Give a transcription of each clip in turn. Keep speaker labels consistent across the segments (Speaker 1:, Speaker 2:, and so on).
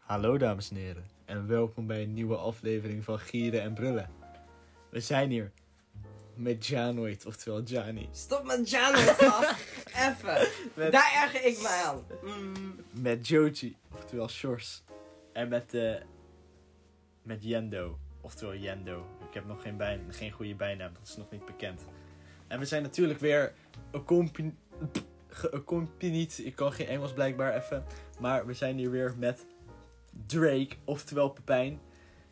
Speaker 1: Hallo dames en heren en welkom bij een nieuwe aflevering van Gieren en Brullen. We zijn hier met Janoid, oftewel Jani.
Speaker 2: Stop met Janus, gast. Even.
Speaker 1: Met,
Speaker 2: Daar erger ik mij aan. Mm.
Speaker 1: met Joji, oftewel Shores. En met, eh met Jendo, oftewel Jendo. Ik heb nog geen, bij, geen goede bijnaam, dat is nog niet bekend. En we zijn natuurlijk weer accompan- geaccompanied. Ik kan geen Engels blijkbaar even. Maar we zijn hier weer met Drake, oftewel Pepijn.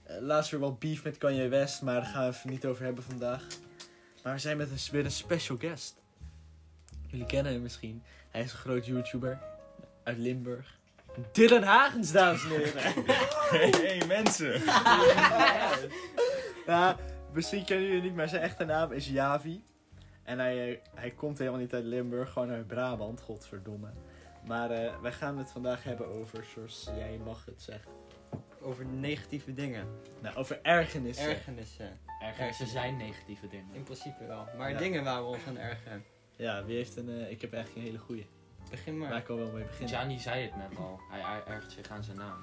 Speaker 1: Eh, laatst weer wat beef met Kanye West, maar daar gaan we even niet over hebben vandaag. Maar we zijn met een, weer een special guest. Jullie kennen hem misschien. Hij is een groot YouTuber uit Limburg. Dylan Hagens, dames en heren.
Speaker 3: Hey mensen!
Speaker 1: ja, misschien kennen jullie het niet, maar zijn echte naam is Javi. En hij, eh, hij komt helemaal niet uit Limburg, gewoon uit Brabant, godverdomme. Maar eh, wij gaan het vandaag hebben over, zoals jij mag het zeggen.
Speaker 2: Over negatieve dingen.
Speaker 1: Nou, over ergernissen.
Speaker 2: Ergernissen.
Speaker 3: ze zijn negatieve dingen.
Speaker 2: In principe wel. Maar
Speaker 1: Ja.
Speaker 2: dingen waar we ons aan ergeren.
Speaker 1: Ja, wie heeft een... eh, ik heb echt geen hele goeie.
Speaker 2: Begin
Speaker 1: Maar
Speaker 2: maar.
Speaker 1: ik kan wel mee beginnen.
Speaker 3: Gianni zei het net al. Hij er- ergert zich aan zijn naam.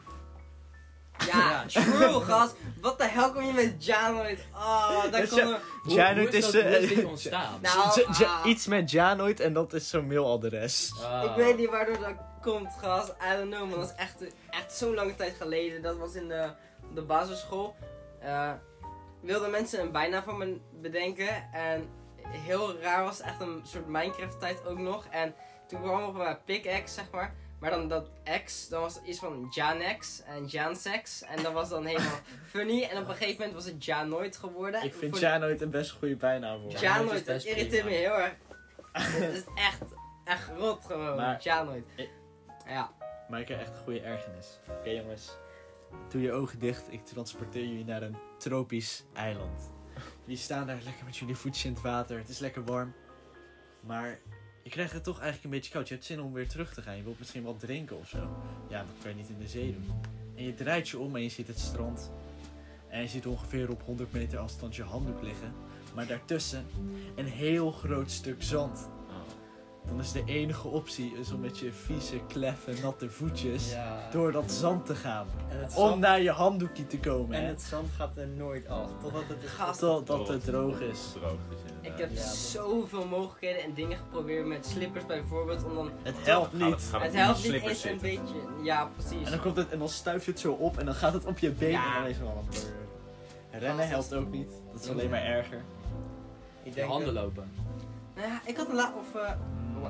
Speaker 2: Ja, true, gast. Wat de hel kom je met Janus? Oh, daar
Speaker 1: Dat
Speaker 2: kon
Speaker 1: is-
Speaker 2: er...
Speaker 1: Janoid
Speaker 3: hoe is
Speaker 1: is,
Speaker 3: dat
Speaker 1: eh,
Speaker 3: woord ontstaan?
Speaker 2: Nou,
Speaker 1: Z- z-
Speaker 3: eh,
Speaker 2: ah.
Speaker 1: iets met Janoid en dat is zo'n mailadres.
Speaker 3: Ah.
Speaker 2: Ik weet niet waardoor dat komt, gast. I don't know, man. Dat is echt, echt zo'n lange tijd geleden. Dat was in de, de basisschool. Eh, wilden mensen een bijnaam van me bedenken. En heel raar was het echt een soort Minecraft-tijd ook nog. En toen kwam op mijn pickaxe, zeg maar. Maar dan dat X, dan was het iets van Janex en Jansex. En dat was dan helemaal funny. En op een gegeven moment was het Janoid geworden.
Speaker 1: Ik vind
Speaker 2: Voor-
Speaker 1: Janoid een best goede bijnaam voor.
Speaker 3: Ja. Janoid
Speaker 2: Janoid,
Speaker 3: is
Speaker 2: dat
Speaker 3: best
Speaker 2: irriteert me
Speaker 3: prima.
Speaker 2: heel erg. Het is echt, echt rot gewoon,
Speaker 1: Maar-
Speaker 2: Janoid.
Speaker 1: Ik-
Speaker 2: Ja,
Speaker 1: Maar ik heb echt een goede ergernis. Oké jongens, doe je ogen dicht. Ik transporteer jullie naar een tropisch eiland. Jullie staan daar lekker met jullie voetjes in het water. Het is lekker warm. Maar je krijgt het toch eigenlijk een beetje koud. Je hebt zin om weer terug te gaan. Je wilt misschien wat drinken of zo. Ja, dat kan je niet in de zee doen. En je draait je om en je ziet het strand. En je ziet ongeveer op 100 meter afstand je handdoek liggen. Maar daartussen een heel groot stuk zand.
Speaker 3: Oh.
Speaker 1: Dan is de enige optie is om met je vieze, kleffe, natte voetjes
Speaker 4: Ja.
Speaker 1: Dus door dat zand te gaan.
Speaker 4: En het
Speaker 1: Om
Speaker 4: zand-
Speaker 1: naar je handdoekje te komen.
Speaker 4: En
Speaker 1: hè.
Speaker 4: het zand gaat er nooit af, totdat het is
Speaker 2: gast.
Speaker 1: Totdat het droog is.
Speaker 3: Droog is inderdaad.
Speaker 2: Ik heb
Speaker 4: Ja, dus dat-
Speaker 2: zoveel mogelijkheden en dingen geprobeerd met slippers bijvoorbeeld. Om dan,
Speaker 1: Het helpt
Speaker 3: Gaan we-
Speaker 1: niet.
Speaker 3: gaan
Speaker 2: het
Speaker 3: we in die
Speaker 2: helpt niet
Speaker 3: slippers
Speaker 2: eens een
Speaker 3: zitten?
Speaker 2: beetje. Ja, precies.
Speaker 1: En dan, komt het, en dan stuift het zo op en dan gaat het op je been.
Speaker 2: Ja.
Speaker 1: En dan is het wel een brrr. Rennen helpt ook niet. Dat is alleen maar erger.
Speaker 4: Ik
Speaker 3: Je
Speaker 4: denk
Speaker 3: handen lopen.
Speaker 2: Nou ja, ik had een laat of... eh,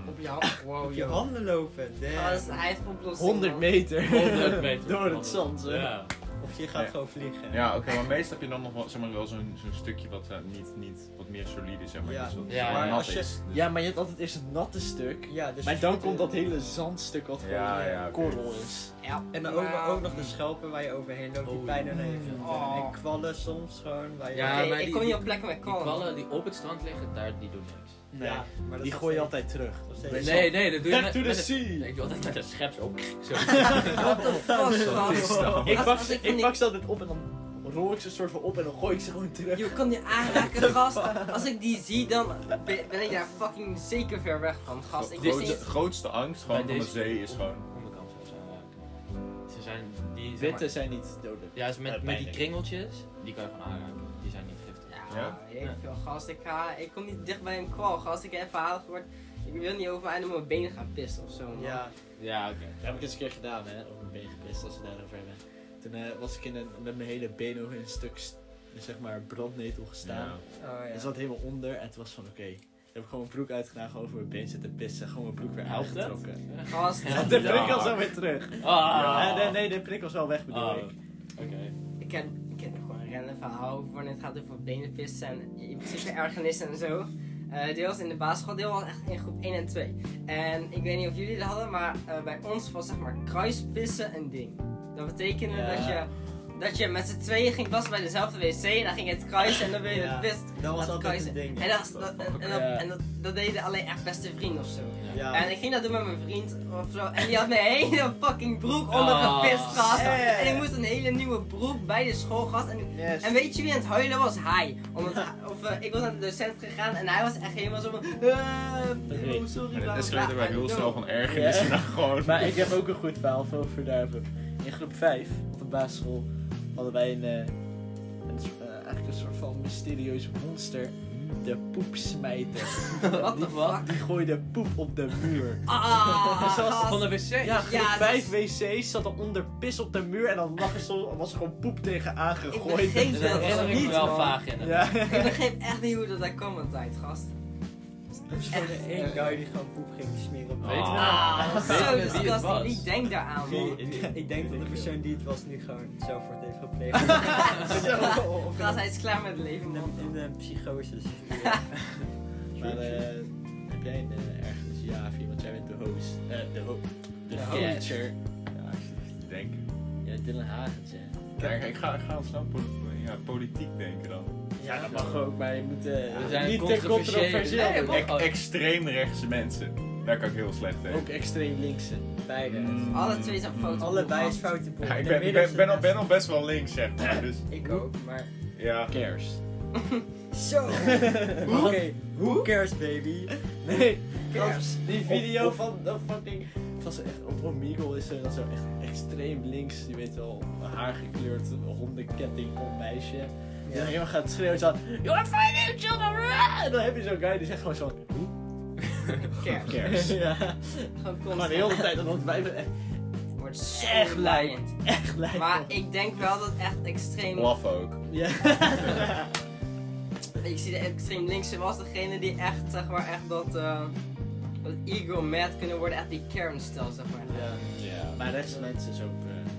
Speaker 2: op je hand. Wow,
Speaker 4: op je
Speaker 2: joh.
Speaker 4: handen lopen, damn.
Speaker 2: Gast, hij heeft oplossingen.
Speaker 1: 100 meter.
Speaker 3: 100 meter.
Speaker 1: Door het zand. hè.
Speaker 3: Ja.
Speaker 4: Of je gaat
Speaker 3: Ja.
Speaker 4: gewoon vliegen.
Speaker 5: Ja, Ah, oké, maar meestal heb je dan nog wel, zeg maar, wel zo'n zo'n stukje wat eh, niet, niet wat meer solide is, zeg maar.
Speaker 4: Ja.
Speaker 5: Dus wat
Speaker 3: Ja,
Speaker 5: wat
Speaker 3: maar
Speaker 5: nat
Speaker 4: als je-
Speaker 5: is. Dus-
Speaker 1: Ja, maar je hebt altijd eerst het natte stuk.
Speaker 4: Ja, dus
Speaker 1: Maar
Speaker 4: je
Speaker 1: dan
Speaker 4: voeten-
Speaker 1: komt dat hele zandstuk wat gewoon
Speaker 5: Ja,
Speaker 1: eh,
Speaker 5: ja, oké.
Speaker 1: korrel is.
Speaker 2: Ja. nou.
Speaker 4: En dan ook,
Speaker 2: maar-
Speaker 4: ook nog de schelpen waar je overheen loopt, die
Speaker 3: Oh,
Speaker 4: bijna naar je voeten.
Speaker 2: Oh.
Speaker 4: En kwallen soms gewoon. Waar je
Speaker 3: Ja,
Speaker 2: Oké,
Speaker 3: maar
Speaker 2: ik
Speaker 3: die-
Speaker 2: kon je
Speaker 3: die-
Speaker 2: op plekken met
Speaker 3: Die
Speaker 2: kalm.
Speaker 3: kwallen die op het strand liggen, daar, die doen niks.
Speaker 1: Nee.
Speaker 4: Ja, maar dat
Speaker 1: Die
Speaker 4: is
Speaker 1: gooi je
Speaker 4: nog
Speaker 1: altijd terug.
Speaker 4: steeds- nog
Speaker 1: Nee.
Speaker 4: steeds-
Speaker 3: Nee, nee, dat doe
Speaker 1: Back
Speaker 3: je met-
Speaker 1: to the
Speaker 3: met een-
Speaker 1: sea!
Speaker 3: Ik wil dat met een scheps op. Zo.
Speaker 2: What the fuck, gast?
Speaker 1: Ik
Speaker 2: Als-
Speaker 1: pak,
Speaker 2: als
Speaker 1: ze,
Speaker 2: ik van
Speaker 1: ik
Speaker 2: die-
Speaker 1: pak ze altijd op en dan rol ik ze soort van op en dan gooi ik ze gewoon terug.
Speaker 2: Je kan die aanraken, gast. Als ik die zie, dan ben ben ik daar fucking zeker ver weg van, gast. Ik
Speaker 5: Gro-
Speaker 2: wist
Speaker 5: grootste,
Speaker 2: niet...
Speaker 5: grootste angst gewoon
Speaker 3: Bij
Speaker 5: van de
Speaker 3: deze-
Speaker 5: zee is gewoon.
Speaker 3: Onderkant zelfs aanraken. Ze zijn. Die, zeg maar-
Speaker 1: Witte zijn niet dodelijk.
Speaker 3: Ja, dus met,
Speaker 1: Eh,
Speaker 3: met die
Speaker 1: pijnlijk.
Speaker 3: kringeltjes, die kan je gewoon aanraken. Die zijn niet giftig.
Speaker 2: Ja,
Speaker 5: Ja?
Speaker 2: weet ik veel, gast. Ik, ga, ik kom niet dicht bij een kwal, gast. Ik heb verhalen gehoord. Ik wil niet over mij door mijn benen gaan pissen of zo. man.
Speaker 4: Ja,
Speaker 3: Ja, oké.
Speaker 1: Dat heb ik eens een keer gedaan, hè. Op mijn been gepist, als we daarover hebben. Toen eh, was ik in een, met mijn hele been nog in een stuk, st- zeg maar, brandnetel gestaan.
Speaker 5: Ja.
Speaker 4: oh
Speaker 1: En
Speaker 4: ja.
Speaker 1: zat helemaal onder en toen was van, oké. toen heb ik gewoon mijn broek uitgedaan, gewoon over mijn been zitten pissen. Gewoon mijn broek weer
Speaker 3: Helpt het?
Speaker 1: uitgetrokken.
Speaker 2: Gast,
Speaker 1: De prikkel
Speaker 5: Ja.
Speaker 1: zo weer terug.
Speaker 3: Ah.
Speaker 1: Ja, nee, nee, de prikkel is wel weg, bedoel
Speaker 3: Oh.
Speaker 1: ik.
Speaker 3: Oké.
Speaker 2: ik heb, ik heb nog gewoon een rennen verhaal over wanneer het gaat over benen pissen en in principe ergernissen en zo. Eh deel was in de basisschool, deel was echt in groep 1 en 2. En ik weet niet of jullie dat hadden, maar eh, bij ons was zeg maar kruispissen een ding. Dat betekende
Speaker 3: Ja.
Speaker 2: dat je... Dat je met z'n tweeën ging was bij dezelfde wc en dan ging je het kruisen en dan ben je
Speaker 4: Ja,
Speaker 2: het pist.
Speaker 4: Dat
Speaker 2: Dat
Speaker 4: was altijd
Speaker 2: kruisen.
Speaker 4: het ding.
Speaker 2: En, dat, was- dat, en, en dat,
Speaker 1: Ja.
Speaker 2: en dat, dat deden alleen echt beste vrienden of zo.
Speaker 4: Ja.
Speaker 2: En ik ging dat doen met mijn vriend of zo. En die had mijn hele fucking broek ondergepist,
Speaker 3: Ah,
Speaker 2: gast.
Speaker 4: yeah.
Speaker 2: En ik moest een hele nieuwe broek bij de school, gast. En,
Speaker 4: Yes.
Speaker 2: en weet je wie aan het huilen was? Hij. Omdat hij- of, eh, ik was naar de docent gegaan en hij was echt helemaal zo van... eh,
Speaker 1: weet
Speaker 2: oh, sorry,
Speaker 5: En
Speaker 2: bla,
Speaker 5: het
Speaker 2: bla,
Speaker 5: escaleert
Speaker 2: bla,
Speaker 5: wel
Speaker 2: I
Speaker 5: heel
Speaker 2: don't
Speaker 5: snel
Speaker 2: know.
Speaker 5: van ergernis
Speaker 1: Ja.
Speaker 5: naar gewoon.
Speaker 1: Maar ik heb ook een goed verhaal over daarvoor. in groep 5 op de basisschool hadden wij een, eh, een soort- eh, eigenlijk een soort van mysterieus monster. De poepsmijter.
Speaker 2: What
Speaker 1: die,
Speaker 2: the fuck?
Speaker 1: die gooide poep op de muur.
Speaker 2: Ah, gast.
Speaker 3: Van de wc.
Speaker 1: Ja, groep
Speaker 2: Ja, dus dat
Speaker 1: 5 wc's zat er onder pis op de muur en dan lag er soms, was er gewoon poep tegen aangegooid.
Speaker 2: begreep
Speaker 3: dat
Speaker 2: dat
Speaker 3: herinner ik
Speaker 2: niet,
Speaker 3: me wel
Speaker 2: man.
Speaker 3: vaag in.
Speaker 1: Ja.
Speaker 2: Ik begreep echt niet hoe dat daar kwam aan tijd, gast. Echt.
Speaker 4: Eén guy die gewoon poep ging smeren op
Speaker 3: Ah.
Speaker 4: Weet je wel?
Speaker 2: Ah,
Speaker 3: Weet je
Speaker 2: zo
Speaker 3: wie het was?
Speaker 2: disgusting. Wie denkt daar aan, man?
Speaker 4: Ik denk dat de persoon die het was nu gewoon zelfmoord heeft gepleegd.
Speaker 1: Zo.
Speaker 4: Of
Speaker 2: Gast, hij is klaar met het leven,
Speaker 4: in
Speaker 2: man.
Speaker 4: een, in een psychose. dus.
Speaker 1: Maar eh, heb jij een eh, ergens ja, of want jij bent de host. Eh, de host. De
Speaker 4: De
Speaker 1: feature.
Speaker 5: Ja, alsjeblieft, denk.
Speaker 1: Ja, Dylan Hagens, hè.
Speaker 5: Ja, ik, ik ga, ik ga al snel po- ja, politiek denken dan.
Speaker 1: Ja, dat mag ook, maar je moet eh,
Speaker 3: we zijn
Speaker 1: niet te
Speaker 3: controversieel.
Speaker 1: controversieel
Speaker 3: Nee,
Speaker 1: doen.
Speaker 3: mag.
Speaker 5: Ek- extreem rechtse mensen. Daar kan ik heel slecht tegen.
Speaker 1: Ook extreem linkse.
Speaker 4: eh,
Speaker 1: Beide.
Speaker 5: Mm.
Speaker 2: Alle twee zijn fout.
Speaker 4: Allebei is foute boel.
Speaker 5: Ja, ik
Speaker 4: De
Speaker 5: ben, ik ben,
Speaker 4: middenste
Speaker 5: ben, al,
Speaker 4: beste.
Speaker 5: ben al best wel links, zeg maar. Dus
Speaker 4: Ik ook, maar...
Speaker 5: ja.
Speaker 1: Cares.
Speaker 4: Zo! Oké, who cares baby?
Speaker 1: Nee,
Speaker 4: Cares.
Speaker 1: die video van de fucking. Het was echt op Omegle is er dan zo echt extreem links. Je weet wel, een haargekleurd hondenketting op meisje. En dan helemaal gaat schreeuwen zo. You are fighting children! En dan heb je zo'n guy die zegt gewoon zo. Hoe?
Speaker 2: Kerst.
Speaker 1: Cares. ja.
Speaker 2: Gewoon
Speaker 1: Maar
Speaker 2: constant.
Speaker 1: de hele tijd dat ontwijfelen echt,
Speaker 2: Wordt zo
Speaker 1: echt lijkt.
Speaker 2: leidend.
Speaker 1: Echt lijkt.
Speaker 2: Maar
Speaker 1: op-
Speaker 2: ik denk wel dat echt extreem...
Speaker 5: Laf ook.
Speaker 1: Ja.
Speaker 2: Ik zie de extreem linkse was degene die echt, zeg maar, echt dat... eh, dat ego mad kunnen worden. Echt die kernstijl, zeg maar.
Speaker 1: ja.
Speaker 5: Ja.
Speaker 1: Maar rechts mensen is ook. eh,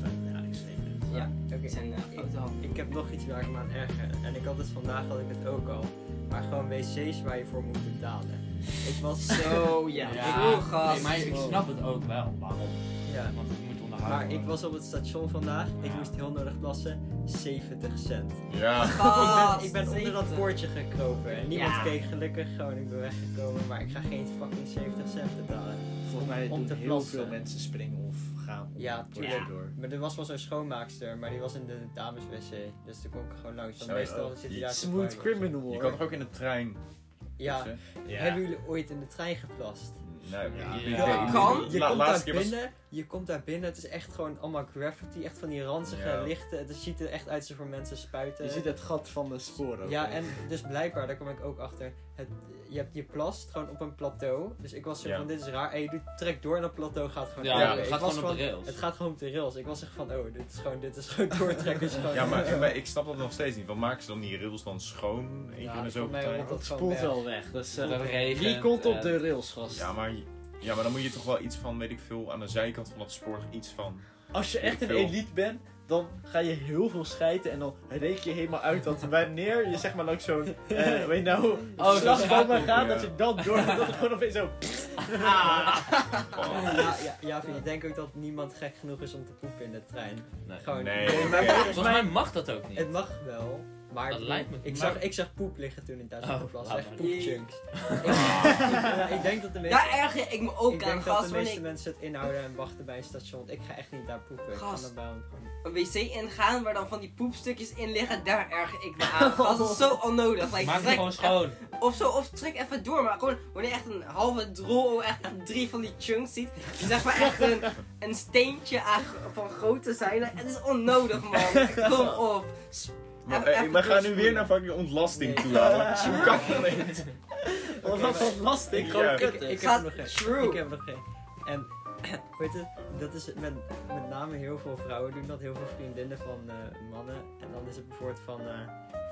Speaker 1: fun, ja, extreem links.
Speaker 2: Ja,
Speaker 4: Oké.
Speaker 2: die zijn eh, foute handen.
Speaker 4: Ik heb nog iets waar ik me aan erger. En ik had het vandaag had ik het ook al. Maar gewoon wc's waar je voor moet betalen. Ik was zo.
Speaker 2: Zo, ja.
Speaker 3: Ja.
Speaker 2: Oeh, gast.
Speaker 3: Nee, maar ik snap het ook wel. Waarom?
Speaker 4: Ja.
Speaker 3: Want het moet onderhouden
Speaker 4: Maar ik
Speaker 3: worden.
Speaker 4: was op het station vandaag. Ik moest heel nodig plassen. 70 cent.
Speaker 5: Ja.
Speaker 4: Oh, ik,
Speaker 2: Gast,
Speaker 4: ben, ik ben onder dat
Speaker 2: zeker.
Speaker 4: poortje gekropen. En niemand
Speaker 2: Ja.
Speaker 4: keek gelukkig gewoon. Ik ben weggekomen. Maar ik ga geen fucking 70 cent betalen.
Speaker 1: Volgens mij
Speaker 4: Om
Speaker 1: doen
Speaker 4: te
Speaker 1: heel
Speaker 4: plassen.
Speaker 1: veel mensen springen of gaan. op
Speaker 4: Ja,
Speaker 1: het bordje
Speaker 2: tuurlijk.
Speaker 1: door.
Speaker 4: Maar er was wel zo'n schoonmaakster. Maar die was in de dameswc. Dus toen kon ik gewoon langs. Want
Speaker 5: Zo,
Speaker 4: meestal
Speaker 5: oh,
Speaker 4: zit
Speaker 5: die
Speaker 4: hij daar te
Speaker 1: Smooth
Speaker 4: vuilen.
Speaker 1: criminal
Speaker 5: Je
Speaker 1: hoor.
Speaker 5: kan toch ook in de trein.
Speaker 4: Ja.
Speaker 5: pissen?
Speaker 1: Ja.
Speaker 4: Hebben jullie ooit in de trein geplast?
Speaker 5: Nee,
Speaker 1: Ja.
Speaker 5: ik- ik-
Speaker 3: Ja.
Speaker 5: ik-
Speaker 2: Kan?
Speaker 5: ik-
Speaker 4: Je
Speaker 5: La-
Speaker 4: komt daar
Speaker 5: laatste keer was
Speaker 4: binnen, je komt daar binnen, het is echt gewoon allemaal graffiti, echt van die ranzige
Speaker 5: Ja.
Speaker 4: lichten. Het ziet er echt uit alsof er mensen spuiten.
Speaker 1: Je ziet het gat van de sporen. ook,
Speaker 4: eh, ja,
Speaker 1: hè?
Speaker 4: en dus blijkbaar, daar kom ik ook achter. Het, je, hebt, je plast gewoon op een plateau. Dus ik was zo
Speaker 5: Ja.
Speaker 4: van, dit is raar. En je doet, trekt door en dat plateau gaat gewoon
Speaker 3: Ja,
Speaker 5: Ja,
Speaker 4: open.
Speaker 3: het
Speaker 4: Ik
Speaker 3: gaat
Speaker 4: was
Speaker 3: gewoon op de
Speaker 4: van-
Speaker 3: rails.
Speaker 4: Het gaat gewoon op de rails. Ik was echt van, oh, dit is gewoon, dit is gewoon doortrekken. is gewoon-
Speaker 5: Ja, maar, maar ik snap dat nog steeds niet. Wat maken ze dan die rails dan schoon? Eén keer in de
Speaker 4: volgens
Speaker 5: zoveel
Speaker 4: mij
Speaker 5: tijd?
Speaker 4: rolt
Speaker 1: dat
Speaker 4: dat gewoon
Speaker 1: spoelt
Speaker 4: weg.
Speaker 1: wel weg. Dus, eh,
Speaker 3: Dat regent
Speaker 1: wie komt op
Speaker 3: en-
Speaker 1: de rails, gast?
Speaker 5: Ja maar, ja, maar dan moet je toch wel iets van, weet ik veel, aan de zijkant van dat spoor iets van.
Speaker 1: Als je echt een
Speaker 5: Veel.
Speaker 1: elite bent, dan ga je heel veel schijten en dan reken je helemaal uit dat wanneer je zeg maar langs zo'n, eh, weet je nou,
Speaker 3: Oh, zo'n
Speaker 1: slagboom
Speaker 3: schakel,
Speaker 1: gaat,
Speaker 5: ja.
Speaker 1: dat je dan door, dat het gewoon opeens zo...
Speaker 2: Ah,
Speaker 5: Oh.
Speaker 4: Ja, ja, ja, vind je denkt ook dat niemand gek genoeg is om te poepen in de trein.
Speaker 3: Nee.
Speaker 4: Gewoon,
Speaker 5: Nee,
Speaker 4: maar
Speaker 5: oké.
Speaker 4: volgens
Speaker 3: Volgens mij mag dat ook niet.
Speaker 4: Het mag wel, maar
Speaker 3: Dat lijkt me-
Speaker 4: ik,
Speaker 3: maar-
Speaker 4: zag, ik zag poep liggen toen in Duitsland
Speaker 3: Oh,
Speaker 4: oh, was.
Speaker 3: laat
Speaker 4: Echt
Speaker 3: maar.
Speaker 4: poepchunks. ja, ik denk dat de meeste,
Speaker 2: Daar erger ik me
Speaker 4: ik
Speaker 2: ook aan,
Speaker 4: denk dat
Speaker 2: gast.
Speaker 4: de
Speaker 2: Wanneer
Speaker 4: meeste
Speaker 2: ik
Speaker 4: mensen het inhouden en wachten bij een station. want Ik ga echt niet daar poepen. Ik ga
Speaker 2: Gast.
Speaker 4: naar Bijlhof gewoon.
Speaker 2: een wc ingaan waar dan van die poepstukjes in liggen, daar erger ik me aan. Gast, dat is zo onnodig. Like,
Speaker 3: Maak het
Speaker 2: trek
Speaker 3: gewoon schoon.
Speaker 2: Of zo, of trek even door. Maar gewoon, wanneer je echt een halve drol, echt drie van die chunks ziet. Je zegt maar echt een, een steentje aan, van grote zijde. Het is onnodig, man. Kom op. S-
Speaker 5: Maar,
Speaker 2: even-
Speaker 5: eh,
Speaker 2: even
Speaker 5: we gaan nu
Speaker 2: doorspoelen.
Speaker 5: weer naar fucking ontlasting
Speaker 4: Nee.
Speaker 5: toe, ouwe. Zo kan dat niet.
Speaker 1: Want dat was lastig,
Speaker 5: Ja.
Speaker 1: gewoon
Speaker 5: Ik-
Speaker 1: kutten.
Speaker 4: Ik heb
Speaker 2: Gaat
Speaker 4: nog geen.
Speaker 2: true.
Speaker 4: Ik heb nog geen. En weet je, dat is met, met name heel veel vrouwen doen dat. Heel veel vriendinnen van eh, mannen. En dan is het bijvoorbeeld van, eh,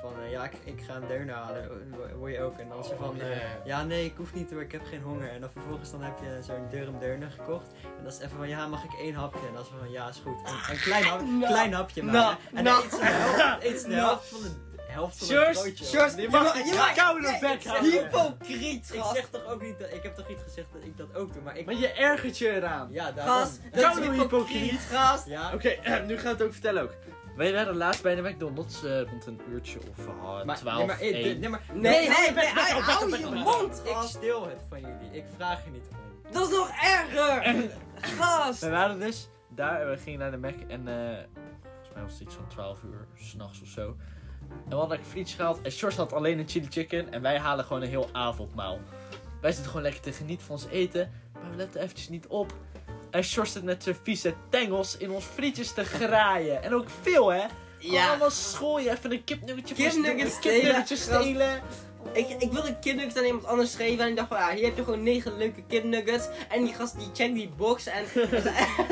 Speaker 4: van eh, ja, ik, ik ga een deur halen. Word je ook. En dan is er van, eh, Ja, nee, ik hoef niet hoor, ik heb geen honger. En dan vervolgens dan heb je zo'n Durham Durner gekocht. En dat is even van, ja, mag ik één hapje? En dat is van, ja, is goed. En een klein, hap,
Speaker 2: Nou.
Speaker 4: klein hapje maar.
Speaker 2: Nou,
Speaker 4: hè. en
Speaker 2: nou.
Speaker 4: dan eet ze de helft, eet ze de
Speaker 2: Nou.
Speaker 4: helft van de helft van het
Speaker 1: Sjors,
Speaker 4: broodje. op.
Speaker 2: Sjors,
Speaker 1: Die
Speaker 2: je
Speaker 1: mag
Speaker 2: mag
Speaker 1: ik
Speaker 2: je mag-
Speaker 1: koude
Speaker 2: Nee,
Speaker 1: bek houden.
Speaker 2: Hypocriet,
Speaker 4: Ik
Speaker 2: gast.
Speaker 4: zeg toch ook niet, dat, ik heb toch niet gezegd dat ik dat ook doe, maar ik...
Speaker 1: Maar je ergert je eraan.
Speaker 4: ja, daarom.
Speaker 2: Gast, dat
Speaker 1: Koude
Speaker 2: is
Speaker 1: hypocriet.
Speaker 2: hypocriet, gast.
Speaker 4: Ja,
Speaker 1: Oké, nu gaan we het ook vertellen ook. Wij waren laatst bij de McDonald's eh, rond een uurtje of half
Speaker 4: maar,
Speaker 1: twaalf,
Speaker 4: nee, maar, eh,
Speaker 1: één.
Speaker 4: nee, maar
Speaker 2: Nee, nee, nee,
Speaker 1: bek,
Speaker 2: hou-
Speaker 1: bek, bek,
Speaker 2: hou
Speaker 1: bek,
Speaker 2: je
Speaker 1: bek.
Speaker 2: mond,
Speaker 4: ik
Speaker 2: gast.
Speaker 4: steel het van jullie. Ik vraag er niet om.
Speaker 2: Dat is nog erger. Gast.
Speaker 1: We waren dus daar, we gingen naar de Mac en eh, volgens mij was het iets van 12 uur s'nachts of zo. En we hadden een frietje gehaald en George had alleen een chili chicken en wij halen gewoon een heel avondmaal. Wij zitten gewoon lekker te genieten van ons eten, maar we letten eventjes niet op. Hij shorst het met zijn vieze tengels in ons frietjes te graaien. En ook veel, hè? Ja.
Speaker 2: Ja.
Speaker 1: Allemaal schooien, even een kipnuggetje voor
Speaker 2: Kipnuggets
Speaker 1: een kipnuggetje
Speaker 2: stelen.
Speaker 1: stelen.
Speaker 2: Ik, ik wilde kipnuggets aan iemand anders geven en ik dacht van ja, hier heb je gewoon negen leuke kipnuggets. En die gast die checkt die box en er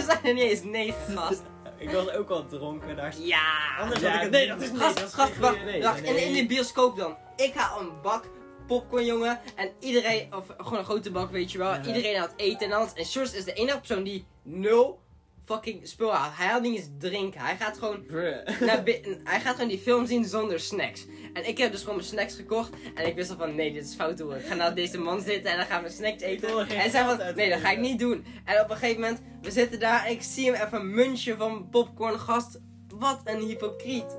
Speaker 2: zijn er niet eens negen gast.
Speaker 4: Ik was ook al dronken daar.
Speaker 2: Ja!
Speaker 4: Anders
Speaker 1: Ja,
Speaker 4: had ik het
Speaker 1: nee,
Speaker 4: niet-
Speaker 1: dat is-
Speaker 2: gast,
Speaker 4: dat is
Speaker 2: gast,
Speaker 4: geen goede
Speaker 2: wacht,
Speaker 4: idee.
Speaker 2: wacht. In,
Speaker 4: Nee.
Speaker 2: in de bioscoop dan. Ik haal een bak popcorn, jongen. En iedereen, of gewoon een grote bak, weet je wel.
Speaker 4: Ja.
Speaker 2: Iedereen had eten en alles. En Sjors is de enige persoon die nul fucking spul haalt. Hij haalt niet eens drinken. Hij gaat gewoon
Speaker 4: Bruh.
Speaker 2: naar binnen. Hij gaat gewoon die film zien zonder snacks. En ik heb dus gewoon mijn snacks gekocht. En ik wist al van, nee, dit is fout hoor. Ik ga nou deze man zitten en dan gaan we snacks eten.
Speaker 4: wil er geen
Speaker 2: En zij
Speaker 4: geld
Speaker 2: van,
Speaker 4: uit
Speaker 2: nee, dat ga ik
Speaker 4: geven.
Speaker 2: niet doen. En op een gegeven moment, we zitten daar en ik zie hem even munchen van popcorn. Gast, wat een hypocriet.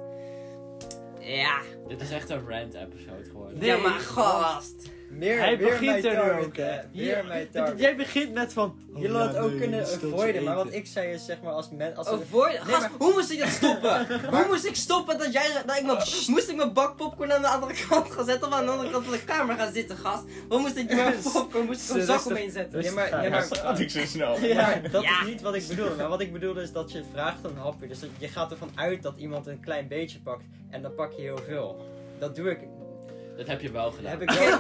Speaker 2: Ja,
Speaker 3: Dit is echt een rant-episode geworden.
Speaker 2: ja maar gast.
Speaker 4: Meer,
Speaker 1: Hij
Speaker 4: meer
Speaker 1: begint
Speaker 4: mijn
Speaker 1: er nu
Speaker 4: target,
Speaker 1: ook,
Speaker 4: hè.
Speaker 1: hè.
Speaker 4: Meer
Speaker 1: Hier-
Speaker 4: mijn target.
Speaker 1: Jij begint met van...
Speaker 4: Jullie
Speaker 1: oh ja,
Speaker 5: nou,
Speaker 4: hadden het ook
Speaker 1: nee,
Speaker 4: kunnen
Speaker 1: je steelt je
Speaker 4: avoiden, maar
Speaker 1: eten.
Speaker 4: wat ik zei is zeg maar als men... Als
Speaker 2: Oh, voor, gast,
Speaker 4: maar-
Speaker 2: hoe moest ik dat stoppen? hoe moest ik stoppen dat jij... Dat ik mijn- moest ik mijn bak popcorn aan de andere kant gaan zetten of aan de andere kant van de kamer gaan zitten, gast? Wat moest ik mijn popcorn? Moest ik een zak
Speaker 1: Rustig.
Speaker 2: omheen zetten?
Speaker 4: Nee, maar, nee,
Speaker 5: Ja,
Speaker 4: maar,
Speaker 5: maar dat ik zo snel.
Speaker 4: Ja, maar dat
Speaker 2: Ja.
Speaker 4: is niet wat ik bedoelde. Maar wat ik bedoelde is dat je vraagt om een hapje. Dus dat- je gaat ervan uit dat iemand een klein beetje pakt. En dan pak je heel veel. Dat doe ik.
Speaker 3: Dat heb je wel gedaan.
Speaker 4: Heb ik wel.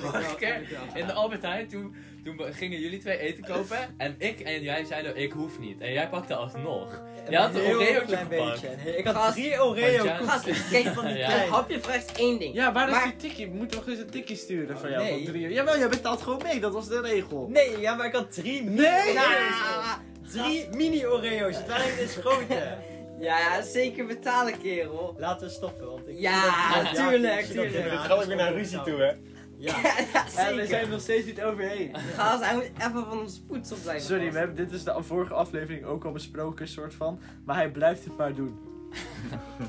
Speaker 3: Vorige keer in de Albert Heijn, toen, toen be- gingen jullie twee eten kopen. En ik en jij zeiden, ik hoef niet. En jij pakte alsnog. Je had een
Speaker 4: heel
Speaker 3: Oreo'tje
Speaker 4: klein
Speaker 3: gepakt.
Speaker 4: beetje. En Ik had
Speaker 2: Gast,
Speaker 4: drie Oreo
Speaker 3: want jij-
Speaker 4: koekjes.
Speaker 2: Gast, kijk van die
Speaker 3: Ja.
Speaker 2: kleine hapje vraagt één ding.
Speaker 1: Ja, waar is
Speaker 2: Maar-
Speaker 1: die tikkie? We moeten toch eens een tikkie sturen van
Speaker 4: Oh,
Speaker 1: jou?
Speaker 4: nee.
Speaker 1: Van drie uur. Jawel, jij betaalt gewoon mee. Dat was de regel.
Speaker 4: Nee, ja, maar ik had drie mini
Speaker 1: Nee!
Speaker 4: Oreo's.
Speaker 2: Ja,
Speaker 4: Drie mini Oreo's. Het waren dus grote.
Speaker 2: ja, zeker betalen, kerel.
Speaker 4: Laten we stoppen, want ik...
Speaker 2: Ja,
Speaker 4: ik-
Speaker 2: tuurlijk,
Speaker 4: ik zie dat
Speaker 2: tuurlijk.
Speaker 4: ernaar.
Speaker 5: Dit gaat ook weer naar ruzie toe, hè?
Speaker 4: Ja.
Speaker 2: Ja,
Speaker 1: En
Speaker 2: ja,
Speaker 1: we
Speaker 2: zeker.
Speaker 1: zijn nog steeds niet overheen.
Speaker 2: Gast, hij moet even van ons voedsel blijven.
Speaker 1: Sorry,
Speaker 2: gast.
Speaker 1: we hebben, dit is de vorige aflevering ook al besproken, soort van. Maar hij blijft het maar doen.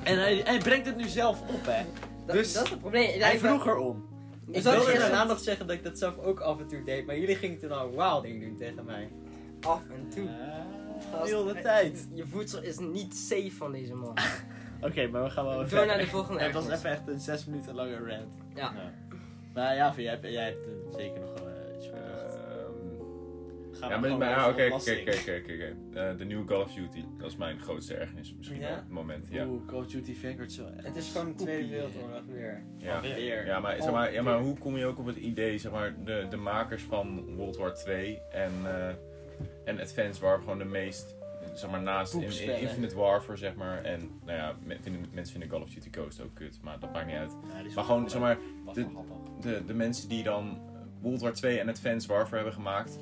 Speaker 1: en hij, hij brengt het nu zelf op, hè.
Speaker 2: Dat,
Speaker 1: dus-
Speaker 2: dat is het probleem. Ja,
Speaker 1: Hij
Speaker 2: ik-
Speaker 1: vroeg erom.
Speaker 4: Ik
Speaker 2: Ik zat
Speaker 4: wilde
Speaker 2: eerst
Speaker 4: daarna
Speaker 2: aan
Speaker 4: nog zeggen dat ik dat zelf ook af en toe deed, maar jullie gingen toen al een wow ding doen tegen mij.
Speaker 2: af en toe.
Speaker 1: Ah,
Speaker 2: Gast,
Speaker 1: Heel de
Speaker 2: eh,
Speaker 1: tijd. Oh,
Speaker 2: Je voedsel is niet safe van deze man.
Speaker 1: Oké, maar we gaan wel even
Speaker 2: Door naar
Speaker 1: verder.
Speaker 2: de volgende.
Speaker 1: Het was
Speaker 2: ergernis.
Speaker 1: even echt een zes minuten lange rant.
Speaker 2: Ja.
Speaker 1: Maar ja, jij hebt, jij hebt eh, zeker nog wel eh, iets bedacht.
Speaker 5: Ehm,
Speaker 1: Gaan
Speaker 5: Ja,
Speaker 1: we
Speaker 5: maar-
Speaker 1: gewoon
Speaker 5: maar
Speaker 1: even
Speaker 5: ja, oké, oké,
Speaker 1: ontlasting.
Speaker 5: oké, oké, oké. oké. Eh, De nieuwe Call of Duty, dat is mijn grootste ergernis misschien
Speaker 4: Ja?
Speaker 5: op het moment. Ja,
Speaker 1: Oeh, Call of Duty Vanguard zo echt.
Speaker 4: Het is gewoon
Speaker 1: Poepie.
Speaker 4: Tweede Wereldoorlog weer.
Speaker 5: ja.
Speaker 1: Weer.
Speaker 5: Ja, maar, zeg
Speaker 1: Oh,
Speaker 5: maar, ja, maar
Speaker 1: weer.
Speaker 5: hoe kom je ook op het idee, zeg maar, de, de makers van World War 2 en, eh, en Advanced Warfare gewoon de meest, zeg maar, naast in- in-
Speaker 1: Poepspellen.
Speaker 5: Infinite Warfare, zeg maar, en, nou ja, me- vinden, mensen vinden Call of Duty Ghost ook kut, maar dat maakt niet uit.
Speaker 1: Ja, die is
Speaker 5: Maar
Speaker 1: wel
Speaker 5: gewoon, zeg maar,
Speaker 3: Wat
Speaker 5: Dit-
Speaker 3: een happen.
Speaker 5: de, de mensen die dan World War 2 en Advanced Warfare hebben gemaakt,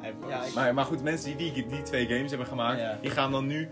Speaker 1: Hij-
Speaker 4: Ja, ik-
Speaker 5: maar, maar goed, mensen die, die die twee games hebben gemaakt,
Speaker 1: Ja.
Speaker 5: die gaan dan nu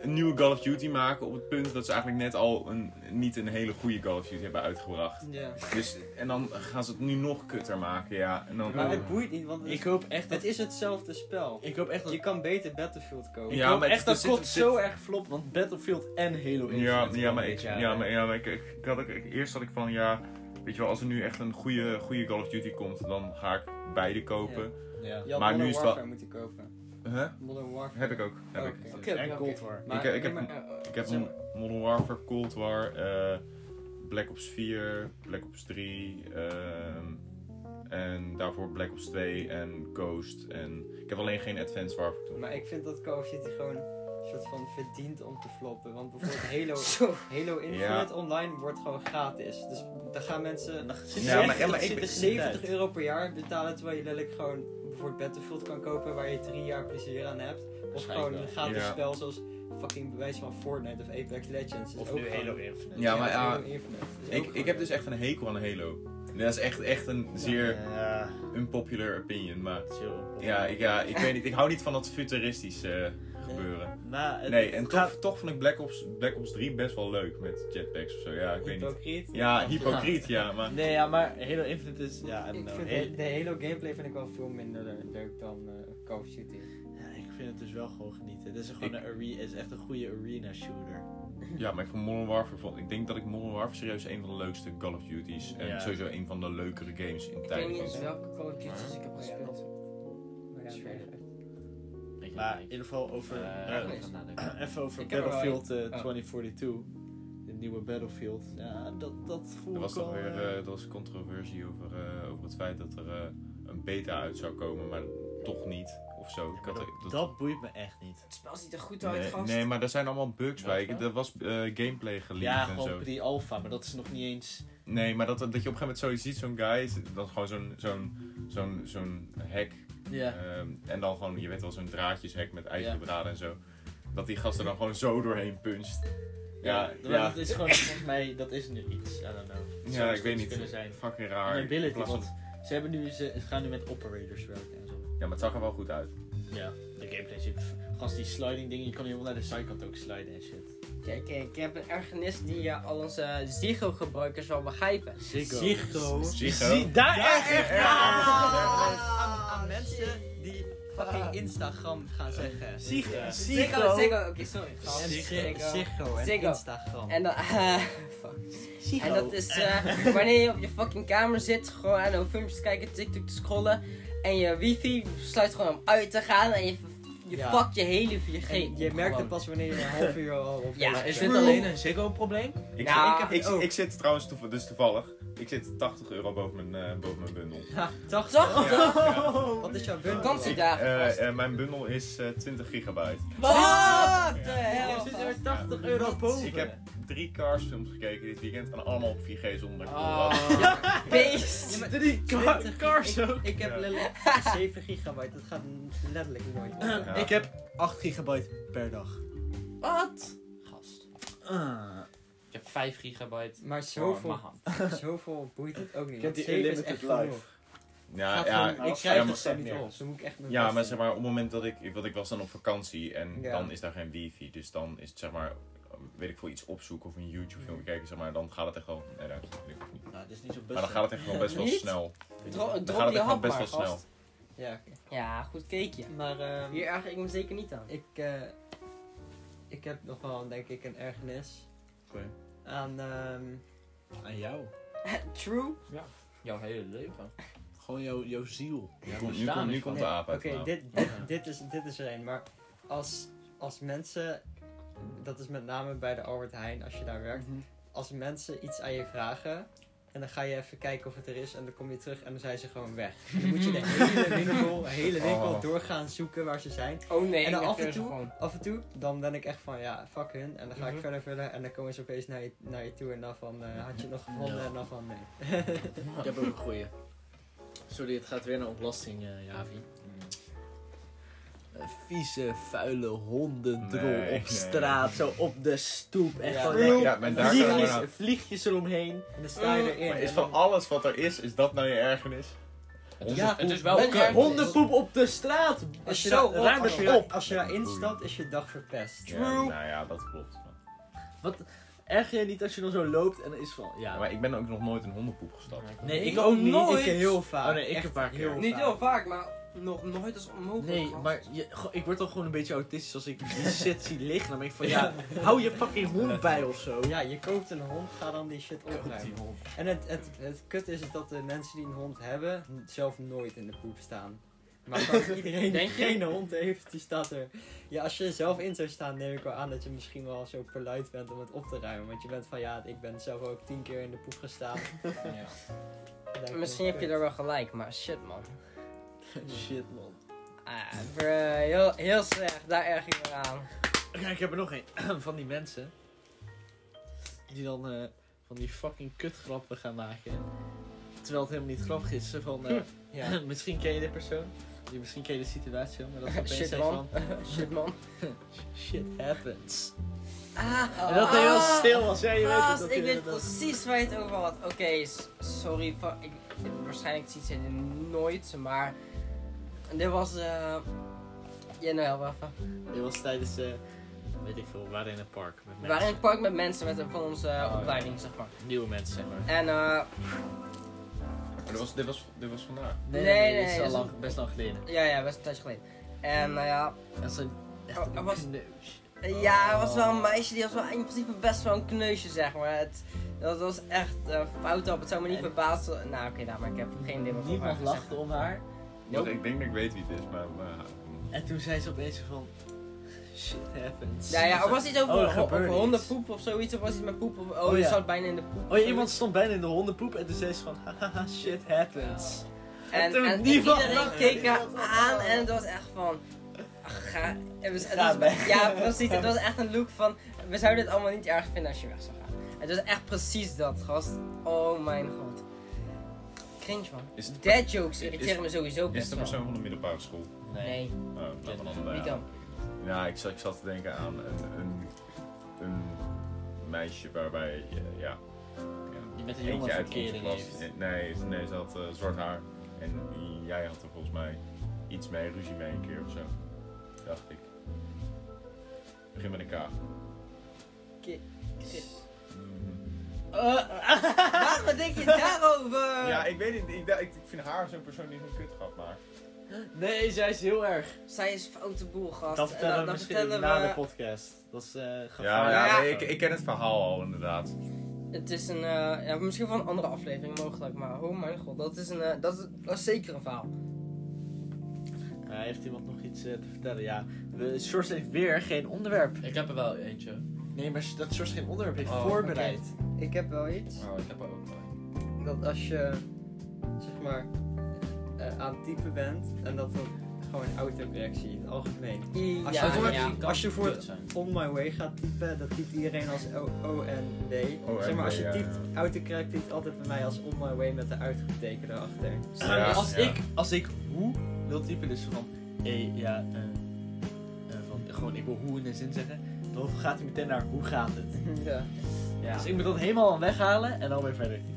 Speaker 5: een nieuwe Call of Duty maken op het punt dat ze eigenlijk net al een, niet een hele goede Call of Duty hebben uitgebracht.
Speaker 4: Ja.
Speaker 5: Dus, en dan gaan ze het nu nog kutter maken, ja. En dan,
Speaker 4: Maar het boeit niet, want het is,
Speaker 1: Ik hoop echt dat...
Speaker 4: het is hetzelfde spel.
Speaker 1: Ik hoop echt dat...
Speaker 4: Je kan beter Battlefield kopen.
Speaker 1: Ik
Speaker 5: Ja,
Speaker 1: hoop
Speaker 5: maar
Speaker 1: echt
Speaker 5: er
Speaker 1: dat
Speaker 5: zit-
Speaker 1: COD
Speaker 5: er
Speaker 1: zo
Speaker 5: zit-
Speaker 1: erg flopt, want Battlefield en Halo Infinite
Speaker 5: ja, ja,
Speaker 1: komen
Speaker 5: maar, ik,
Speaker 1: dit jaar,
Speaker 5: ja,
Speaker 1: hè.
Speaker 5: maar, ja, maar ik, ik, ik had ook, ik- eerst had ik van, ja, weet je wel, als er nu echt een goede, goede Call of Duty komt, dan ga ik beide kopen.
Speaker 1: Ja.
Speaker 4: Je had
Speaker 5: Maar nu
Speaker 4: Modern
Speaker 5: is het
Speaker 4: Warfare
Speaker 5: wel-
Speaker 4: moeten kopen.
Speaker 5: Huh?
Speaker 4: Modern Warfare.
Speaker 5: Heb ik ook, heb
Speaker 4: Oké.
Speaker 5: ik.
Speaker 4: Oké,
Speaker 2: Oké,
Speaker 1: En
Speaker 2: oké,
Speaker 1: Cold
Speaker 2: oké.
Speaker 1: War.
Speaker 4: Maar-
Speaker 5: Ik- ik heb
Speaker 4: nee, maar, eh,
Speaker 5: Ik heb
Speaker 4: zeg
Speaker 5: een
Speaker 4: maar,
Speaker 5: Modern Warfare, Cold War, eh, Black Ops 4, Black Ops 3, ehm, en daarvoor Black Ops 2 en Ghost. En ik heb alleen geen Advanced Warfare toen.
Speaker 4: eh, maar ik vind dat Call of Duty gewoon een soort van verdient om te floppen. Want bijvoorbeeld Halo,
Speaker 2: Zo.
Speaker 4: Halo Infinite Online wordt gewoon gratis. Dus daar gaan mensen
Speaker 1: Dan zit
Speaker 5: Ja,
Speaker 1: je
Speaker 5: maar-
Speaker 1: echt-
Speaker 5: ja, maar
Speaker 1: zit
Speaker 5: ik
Speaker 1: er
Speaker 5: ben-
Speaker 4: 70 euro per jaar betalen. Terwijl je letterlijk gewoon bijvoorbeeld Battlefield kan kopen waar je drie jaar plezier aan hebt. Of
Speaker 1: Waarschijnlijk
Speaker 4: gewoon een
Speaker 1: wel.
Speaker 4: gratis
Speaker 5: Ja.
Speaker 4: spel zoals fucking bewijs van Fortnite of Apex Legends. Is
Speaker 1: Of
Speaker 4: ook
Speaker 1: nu
Speaker 4: gewoon-
Speaker 1: Halo Infinite.
Speaker 5: Ja, maar ja,
Speaker 4: Halo Infinite is ook
Speaker 5: Ik,
Speaker 4: gewoon-
Speaker 5: ik heb dus echt een hekel aan Halo. Dat is echt, echt een zeer
Speaker 1: Ja,
Speaker 5: unpopular opinion, maar...
Speaker 1: chill.
Speaker 5: Ja, ik, ja, ik weet niet. Ik hou niet van dat futuristische eh, gebeuren.
Speaker 1: Maar het
Speaker 5: Nee, en
Speaker 1: gaat...
Speaker 5: toch, toch vond ik Black Ops, Black Ops 3 best wel leuk met jetpacks of zo. Ja, ik weet niet.
Speaker 4: Hypocriet.
Speaker 5: Ja, hypocriet, ja, maar...
Speaker 1: Nee, ja, maar Halo Infinite is... Ja, I don't
Speaker 4: Ik
Speaker 1: know.
Speaker 4: vind
Speaker 1: He-
Speaker 4: de, de hele gameplay vind ik wel veel minder le- leuk dan eh Call of Duty.
Speaker 1: Ja, ik vind het dus wel gewoon genieten. Het is gewoon een arena, is echt een goede arena shooter.
Speaker 5: Ja, maar ik vond Modern Warfare... Vond, ik denk dat ik Modern Warfare serieus een van de leukste Call of Duty's... En
Speaker 1: Ja.
Speaker 5: sowieso een van de leukere games in
Speaker 2: Ik weet
Speaker 5: tijden
Speaker 2: niet
Speaker 5: van...
Speaker 2: eens welke Call of Duty's ik heb
Speaker 4: Ja.
Speaker 2: gespeeld.
Speaker 4: Maar ja,
Speaker 2: Sfeer.
Speaker 1: Maar in ieder geval over, eh,
Speaker 2: oké.
Speaker 1: even over
Speaker 4: Ik heb er wel
Speaker 1: Battlefield eh,
Speaker 4: Oh.
Speaker 1: 2042. De nieuwe Battlefield. Ja, dat, dat voel
Speaker 5: Er was
Speaker 1: ik
Speaker 5: toch
Speaker 1: al,
Speaker 5: weer
Speaker 1: eh,
Speaker 5: eh, er was controversie over, eh, over het feit dat er eh, een een beta uit zou komen, maar toch niet of zo. Ik had-
Speaker 1: dat,
Speaker 5: dat-
Speaker 1: dat boeit me echt niet.
Speaker 2: Het spel ziet er goed uit,
Speaker 5: nee,
Speaker 2: gast.
Speaker 5: nee, maar daar zijn allemaal bugs
Speaker 3: Ja,
Speaker 5: bij.
Speaker 3: zo.
Speaker 5: Er was eh, gameplay geleakt
Speaker 1: Ja,
Speaker 5: en zo.
Speaker 1: gewoon pre-alpha, maar dat is nog niet eens...
Speaker 5: Nee, maar dat, dat je op een gegeven moment zoiets ziet, zo'n guy, dat gewoon zo'n zo'n zo'n zo'n hack.
Speaker 1: Ja.
Speaker 5: ehm, en dan gewoon, je weet wel, zo'n draadjeshek met
Speaker 1: Ja.
Speaker 5: eigen draden en zo. Dat die gast er dan gewoon zo doorheen puncht. Ja, ja,
Speaker 1: maar dat is gewoon volgens mij, dat is nu iets. I don't know. Het zou
Speaker 5: Ja, ik
Speaker 1: iets
Speaker 5: weet niet.
Speaker 1: Kunnen zijn.
Speaker 5: Fucking raar.
Speaker 1: Een
Speaker 5: In
Speaker 1: ability,
Speaker 5: plaats van-
Speaker 1: want ze, hebben nu, ze ze gaan nu met operators werken en zo.
Speaker 5: Ja, maar het zag er wel goed uit.
Speaker 1: Ja, de gameplay zit. Gast, die sliding dingen, je kan helemaal naar de zijkant ook sliden en shit.
Speaker 2: Kijk, kijk, ik heb een ergernis die eh, al onze Ziggo-gebruikers wel begrijpen.
Speaker 1: Ziggo.
Speaker 5: Ziggo.
Speaker 1: daar
Speaker 4: Ja, echt!
Speaker 1: echt!
Speaker 4: Aan, aan, aan mensen die fucking Instagram gaan zeggen.
Speaker 1: Ziggo.
Speaker 2: Ziggo, Ziggo, oké, sorry. gast.
Speaker 4: En Ziggo.
Speaker 2: Ziggo.
Speaker 4: Ziggo en
Speaker 2: Ziggo.
Speaker 4: Instagram.
Speaker 2: En dan, eh, fuck. En dat is eh, wanneer je op je fucking kamer zit, gewoon aan een filmpjes te kijken, TikTok te scrollen. En je wifi sluit gewoon om uit te gaan en je, je
Speaker 4: Ja.
Speaker 2: fuck je hele 4G.
Speaker 4: En je merkt het
Speaker 1: Gewoon.
Speaker 4: pas wanneer je een half uur al op
Speaker 2: Ja,
Speaker 3: Maar
Speaker 4: bent.
Speaker 3: is dit alleen een Ziggo-probleem?
Speaker 5: Ik,
Speaker 2: Nou,
Speaker 5: ik,
Speaker 2: ik heb
Speaker 4: het
Speaker 5: ik,
Speaker 4: ook.
Speaker 5: ik zit trouwens, toeval- dus toevallig, ik zit 80 euro boven mijn, eh, boven mijn bundel.
Speaker 4: Ja,
Speaker 2: Toch? Toch?
Speaker 5: Ja, ja.
Speaker 4: Oh. Wat is jouw bundel?
Speaker 2: Vakantie.
Speaker 5: Ik,
Speaker 2: Ja,
Speaker 5: eh,
Speaker 2: vast.
Speaker 5: eh, mijn bundel is eh, 20 gigabyte.
Speaker 2: What the
Speaker 4: Er
Speaker 2: hell?
Speaker 4: zit
Speaker 2: gast?
Speaker 4: er 80 euro boven.
Speaker 5: Ik heb drie Cars films gekeken dit weekend en allemaal op 4G zonder
Speaker 3: Ah. Oh.
Speaker 2: Beest.
Speaker 1: Drie
Speaker 4: ka-
Speaker 1: cars
Speaker 4: ik, ik heb
Speaker 5: Ja.
Speaker 4: letterlijk 7 gigabyte, dat gaat letterlijk nooit. op.
Speaker 5: Ja.
Speaker 1: Ik heb 8 gigabyte per dag.
Speaker 2: Wat?
Speaker 3: Gast.
Speaker 1: Ah.
Speaker 3: Ik heb 5 gigabyte
Speaker 4: Maar
Speaker 3: voor mijn
Speaker 4: zoveel,
Speaker 3: hand.
Speaker 4: zoveel boeit het ook niet.
Speaker 1: Ik heb die
Speaker 4: want zeven is
Speaker 1: unlimited
Speaker 4: echt
Speaker 1: life.
Speaker 4: genoeg.
Speaker 5: Ja,
Speaker 4: Gaat
Speaker 5: ja,
Speaker 4: gewoon-
Speaker 1: ik
Speaker 4: ik
Speaker 1: krijg
Speaker 5: ja,
Speaker 4: schrijf
Speaker 5: maar,
Speaker 1: het
Speaker 4: het
Speaker 1: zelf
Speaker 4: niet op, dus dan moet ik echt mijn
Speaker 5: ja,
Speaker 4: best
Speaker 5: maar
Speaker 4: doen.
Speaker 5: zeg maar op het moment dat ik, ik- want ik was dan op vakantie en
Speaker 4: Ja.
Speaker 5: dan is daar geen wifi, dus dan is het zeg maar, weet ik veel, iets opzoeken of een YouTube film kijken, zeg maar, dan gaat het echt wel, nee, dat weet ik ook niet.
Speaker 1: Nou, dit is niet zo best.
Speaker 5: Maar dan gaat het echt wel best wel
Speaker 2: Niet?
Speaker 5: snel.
Speaker 2: Dro-
Speaker 5: Dan
Speaker 2: drop
Speaker 5: gaat het
Speaker 2: die
Speaker 5: echt wel
Speaker 2: hap
Speaker 5: best
Speaker 2: maar,
Speaker 5: wel snel.
Speaker 2: gast.
Speaker 4: Ja, oké.
Speaker 2: Ja, goed cakeje.
Speaker 4: Maar ehm,
Speaker 2: Hier erger ik me zeker niet aan.
Speaker 4: ik, eh, ik heb nog wel, denk ik, een ergernis
Speaker 1: Oké.
Speaker 4: aan... ehm,
Speaker 1: Aan jou.
Speaker 2: True.
Speaker 3: Jouw hele leven.
Speaker 1: Gewoon jouw, jouw ziel.
Speaker 5: Nu
Speaker 3: Ja,
Speaker 5: komt- Nu
Speaker 3: bestaan
Speaker 5: komt- nu
Speaker 3: is
Speaker 5: komt de
Speaker 4: nee,
Speaker 5: aap uit. nou.
Speaker 4: Oké,
Speaker 5: de naam.
Speaker 4: dit, dit, dit, is, dit is er een, maar als, als mensen, dat is met name bij de Albert Heijn, als je daar werkt, als mensen iets aan je vragen en dan ga je even kijken of het er is en dan kom je terug en dan zijn ze gewoon weg. En dan moet je de hele winkel, hele winkel
Speaker 5: Oh.
Speaker 4: doorgaan zoeken waar ze zijn.
Speaker 2: Oh nee,
Speaker 4: En dan
Speaker 2: ik
Speaker 4: af en
Speaker 2: heb
Speaker 4: toe-
Speaker 2: gewoon.
Speaker 4: Af en toe, dan ben ik echt van ja, fuck hun. En dan ga
Speaker 2: Mhm.
Speaker 4: ik verder verder en dan komen ze opeens naar je, naar je toe en dan van eh, had je het nog gevonden
Speaker 1: Ja.
Speaker 4: en dan van nee.
Speaker 1: Ik heb ook een goeie. Sorry, het gaat weer naar ontlasting, eh, Javi.
Speaker 3: Mm.
Speaker 1: Eh, Vieze, vuile hondendrol
Speaker 5: Nee,
Speaker 1: op
Speaker 5: nee.
Speaker 1: straat, zo op de stoep. Echt
Speaker 4: Ja,
Speaker 1: gewoon
Speaker 5: ja, maar daar gaan we naar-
Speaker 1: vliegjes, vliegjes eromheen.
Speaker 4: En dan sta
Speaker 2: Eh,
Speaker 4: je erin.
Speaker 5: Maar is
Speaker 4: en
Speaker 5: van
Speaker 4: dan-
Speaker 5: alles wat er is, is dat nou je ergernis?
Speaker 3: Het is,
Speaker 1: Ja,
Speaker 3: het is wel
Speaker 1: Met
Speaker 3: kut.
Speaker 1: hondenpoep op de straat.
Speaker 4: als je
Speaker 1: Zo,
Speaker 4: daar-
Speaker 1: ruim
Speaker 4: als
Speaker 1: het
Speaker 4: je-
Speaker 1: op.
Speaker 4: Als je daarin stapt, is je dag verpest.
Speaker 5: Ja,
Speaker 1: True.
Speaker 5: nou ja, dat klopt.
Speaker 1: Erger je niet als je dan zo loopt en er is van... Ja,
Speaker 5: Maar ik ben ook nog nooit in hondenpoep gestapt.
Speaker 1: nee, ik
Speaker 4: nog
Speaker 1: ook niet.
Speaker 4: nooit.
Speaker 1: Ik heel vaak.
Speaker 4: Oh, nee, ik
Speaker 1: Echt
Speaker 4: een paar keer.
Speaker 1: heel
Speaker 2: Niet
Speaker 1: vaak.
Speaker 2: heel vaak, maar nog nooit als onmogelijk.
Speaker 1: Nee,
Speaker 2: gast.
Speaker 1: maar je, go- ik word al gewoon een beetje autistisch als ik die shit zie liggen. Dan ben ik van, ja, hou je fucking hond bij of zo.
Speaker 4: Ja, je koopt een hond, ga dan die shit opruimen.
Speaker 3: Die hond.
Speaker 4: En het, het, het kut is dat de mensen die een hond hebben, zelf nooit in de poep staan. Maar dat iedereen die
Speaker 2: Denk je?
Speaker 4: geen hond heeft, die staat er. Ja, als je er zelf in zou staan, neem ik wel aan dat je misschien wel zo polite bent om het op te ruimen. Want je bent van, ja, ik ben zelf ook tien keer in de poep gestaan.
Speaker 3: Ja.
Speaker 4: Lijkt me
Speaker 2: Misschien
Speaker 4: wel
Speaker 2: heb je
Speaker 4: kut.
Speaker 2: er wel gelijk, maar shit man.
Speaker 1: Shit, man.
Speaker 2: Ah, bruh, heel, heel slecht, daar erg ik me aan.
Speaker 1: Kijk, ik heb er nog een van die mensen. Die dan eh, van die fucking kutgrappen gaan maken. Terwijl het helemaal niet grappig is. Zo Van, eh,
Speaker 4: Ja.
Speaker 1: misschien ken je de persoon. die- Misschien ken je de situatie wel, maar dat ze opeens
Speaker 2: Shit,
Speaker 1: zegt
Speaker 2: man.
Speaker 1: van... eh,
Speaker 2: Shit man.
Speaker 1: Shit happens.
Speaker 2: Ah,
Speaker 1: En dat hij heel stil was. Ja, je weet het
Speaker 2: Gast, ik
Speaker 1: natuurlijk
Speaker 2: weet
Speaker 1: wel.
Speaker 2: precies waar je het over had. Oké, s- sorry. Voor, ik, waarschijnlijk ziet ze dit nooit, maar... Dit was... eh ja, nou help even.
Speaker 1: Dit was tijdens... eh, weet ik veel, we waren in een park. Met
Speaker 2: We
Speaker 1: mensen.
Speaker 2: waren in het park met mensen met, een- van onze eh,
Speaker 1: Oh, ja.
Speaker 2: opleiding, zeg maar.
Speaker 1: Nieuwe mensen, zeg maar.
Speaker 2: En eh...
Speaker 5: Maar dit was, dit, was, dit was vandaag.
Speaker 1: Nee, nee,
Speaker 2: Nee,
Speaker 1: nee,
Speaker 2: nee,
Speaker 1: dit is
Speaker 2: dat
Speaker 1: al
Speaker 2: is
Speaker 1: lang,
Speaker 2: een-
Speaker 1: best lang geleden.
Speaker 2: ja, ja, best een tijdje geleden. En nou ja...
Speaker 1: Dat is een, echt
Speaker 2: Oh,
Speaker 1: een
Speaker 2: er was-
Speaker 1: kneus.
Speaker 2: Ja, er was wel een meisje die was wel in principe best wel een kneusje, zeg maar. Het, dat was echt eh, fout op. Het zou me niet
Speaker 1: En-
Speaker 2: verbazen. Nou, oké, nou, maar ik heb geen idee wat
Speaker 1: Niemand
Speaker 2: lacht
Speaker 1: lachte om haar.
Speaker 5: Want ik denk dat ik weet wie het is, maar... maar
Speaker 1: En toen zei ze opeens van... Shit happens.
Speaker 2: Ja, ja, er was iets over,
Speaker 1: Oh, er
Speaker 2: ho- over
Speaker 1: gebeurt iets.
Speaker 2: hondenpoep of zoiets. Of was iets met poep. Of, oh,
Speaker 1: Oh,
Speaker 2: je
Speaker 1: ja.
Speaker 2: zat bijna in de poep.
Speaker 1: Oh, ja, iemand stond bijna in de hondenpoep en toen zei ze van... Haha, shit happens.
Speaker 2: En,
Speaker 1: doet
Speaker 2: en, en
Speaker 1: niet van
Speaker 2: iedereen
Speaker 1: lachen.
Speaker 2: keek me aan en het was echt van... ach, Ga, het was, het was-
Speaker 1: weg.
Speaker 2: ja, precies. Het was echt een look van... We zouden het allemaal niet erg vinden als je weg zou gaan. Het was echt precies dat, gast. Oh mijn god. Cringe, man.
Speaker 5: Is het,
Speaker 2: Dead jokes irriteren
Speaker 5: is-
Speaker 2: me sowieso
Speaker 5: is het
Speaker 2: best
Speaker 5: de
Speaker 2: wel.
Speaker 5: persoon van de middelbare school?
Speaker 2: Nee,
Speaker 5: Oh, laten we dan
Speaker 2: wie
Speaker 5: bij-
Speaker 2: dan?
Speaker 5: Ja, ik zat, ik zat te denken aan een, een, een meisje waarbij, eh, ja,
Speaker 1: Die met een
Speaker 5: eentje
Speaker 1: jonge
Speaker 5: uit onze
Speaker 1: verkering
Speaker 5: klas.
Speaker 1: heeft.
Speaker 5: Nee, nee, ze had eh, zwart haar. En jij had er volgens mij iets mee, ruzie mee een keer of zo. Dacht ik. Begin met een K.
Speaker 2: Ki- ki-
Speaker 5: Mm.
Speaker 2: Waarom denk je daarover?
Speaker 5: Ja, ik weet niet. Ik, dacht- ik, ik vind haar zo'n persoon die zo'n kutgat maakt.
Speaker 1: Nee, zij is heel erg.
Speaker 2: Zij is foute boel, gast.
Speaker 1: Dat vertellen
Speaker 2: En
Speaker 1: we
Speaker 2: dan
Speaker 1: misschien
Speaker 2: vertellen
Speaker 1: na
Speaker 2: we-
Speaker 1: de podcast. Dat is eh
Speaker 5: Ja,
Speaker 1: gevaarlijk.
Speaker 5: ja,
Speaker 2: ja.
Speaker 5: nee, ik, ik ken het verhaal al inderdaad.
Speaker 2: Het is een, eh, ja, misschien van een andere aflevering mogelijk, maar oh mijn god, dat is, een, eh, dat is, dat is zeker een verhaal.
Speaker 1: Eh, heeft iemand nog iets eh, te vertellen? Ja. We, Sjors heeft weer geen onderwerp.
Speaker 3: Ik heb er wel eentje.
Speaker 1: Nee, maar dat Sjors geen onderwerp heeft
Speaker 3: Oh,
Speaker 1: voorbereid.
Speaker 4: Ik heb wel iets.
Speaker 3: Oh, ik heb er ook wel een.
Speaker 4: dat als je zeg maar eh, aan het typen bent en dat dan gewoon autocorrectie in het algemeen.
Speaker 2: I-
Speaker 4: Als
Speaker 2: ja,
Speaker 4: je voor-
Speaker 2: ja.
Speaker 3: Kan
Speaker 4: Als je voor
Speaker 3: kut
Speaker 4: het
Speaker 3: zijn.
Speaker 4: on my way gaat typen, dat typt iedereen als O-N-D.
Speaker 5: O-N-D,
Speaker 4: Zeg maar als je
Speaker 5: ja.
Speaker 4: typt autocorrect, typt altijd bij mij als on my way met de uitroepteken erachter.
Speaker 1: Maar
Speaker 5: Ja,
Speaker 1: Dus als,
Speaker 5: ja.
Speaker 1: Ik, als ik hoe wil typen, dus van, hé, ja, eh, eh, van, gewoon ik wil hoe in een zin zeggen, dan gaat hij meteen naar hoe gaat het.
Speaker 4: ja.
Speaker 1: Ja. Dus ik moet dat helemaal aan weghalen en dan weer verder typen.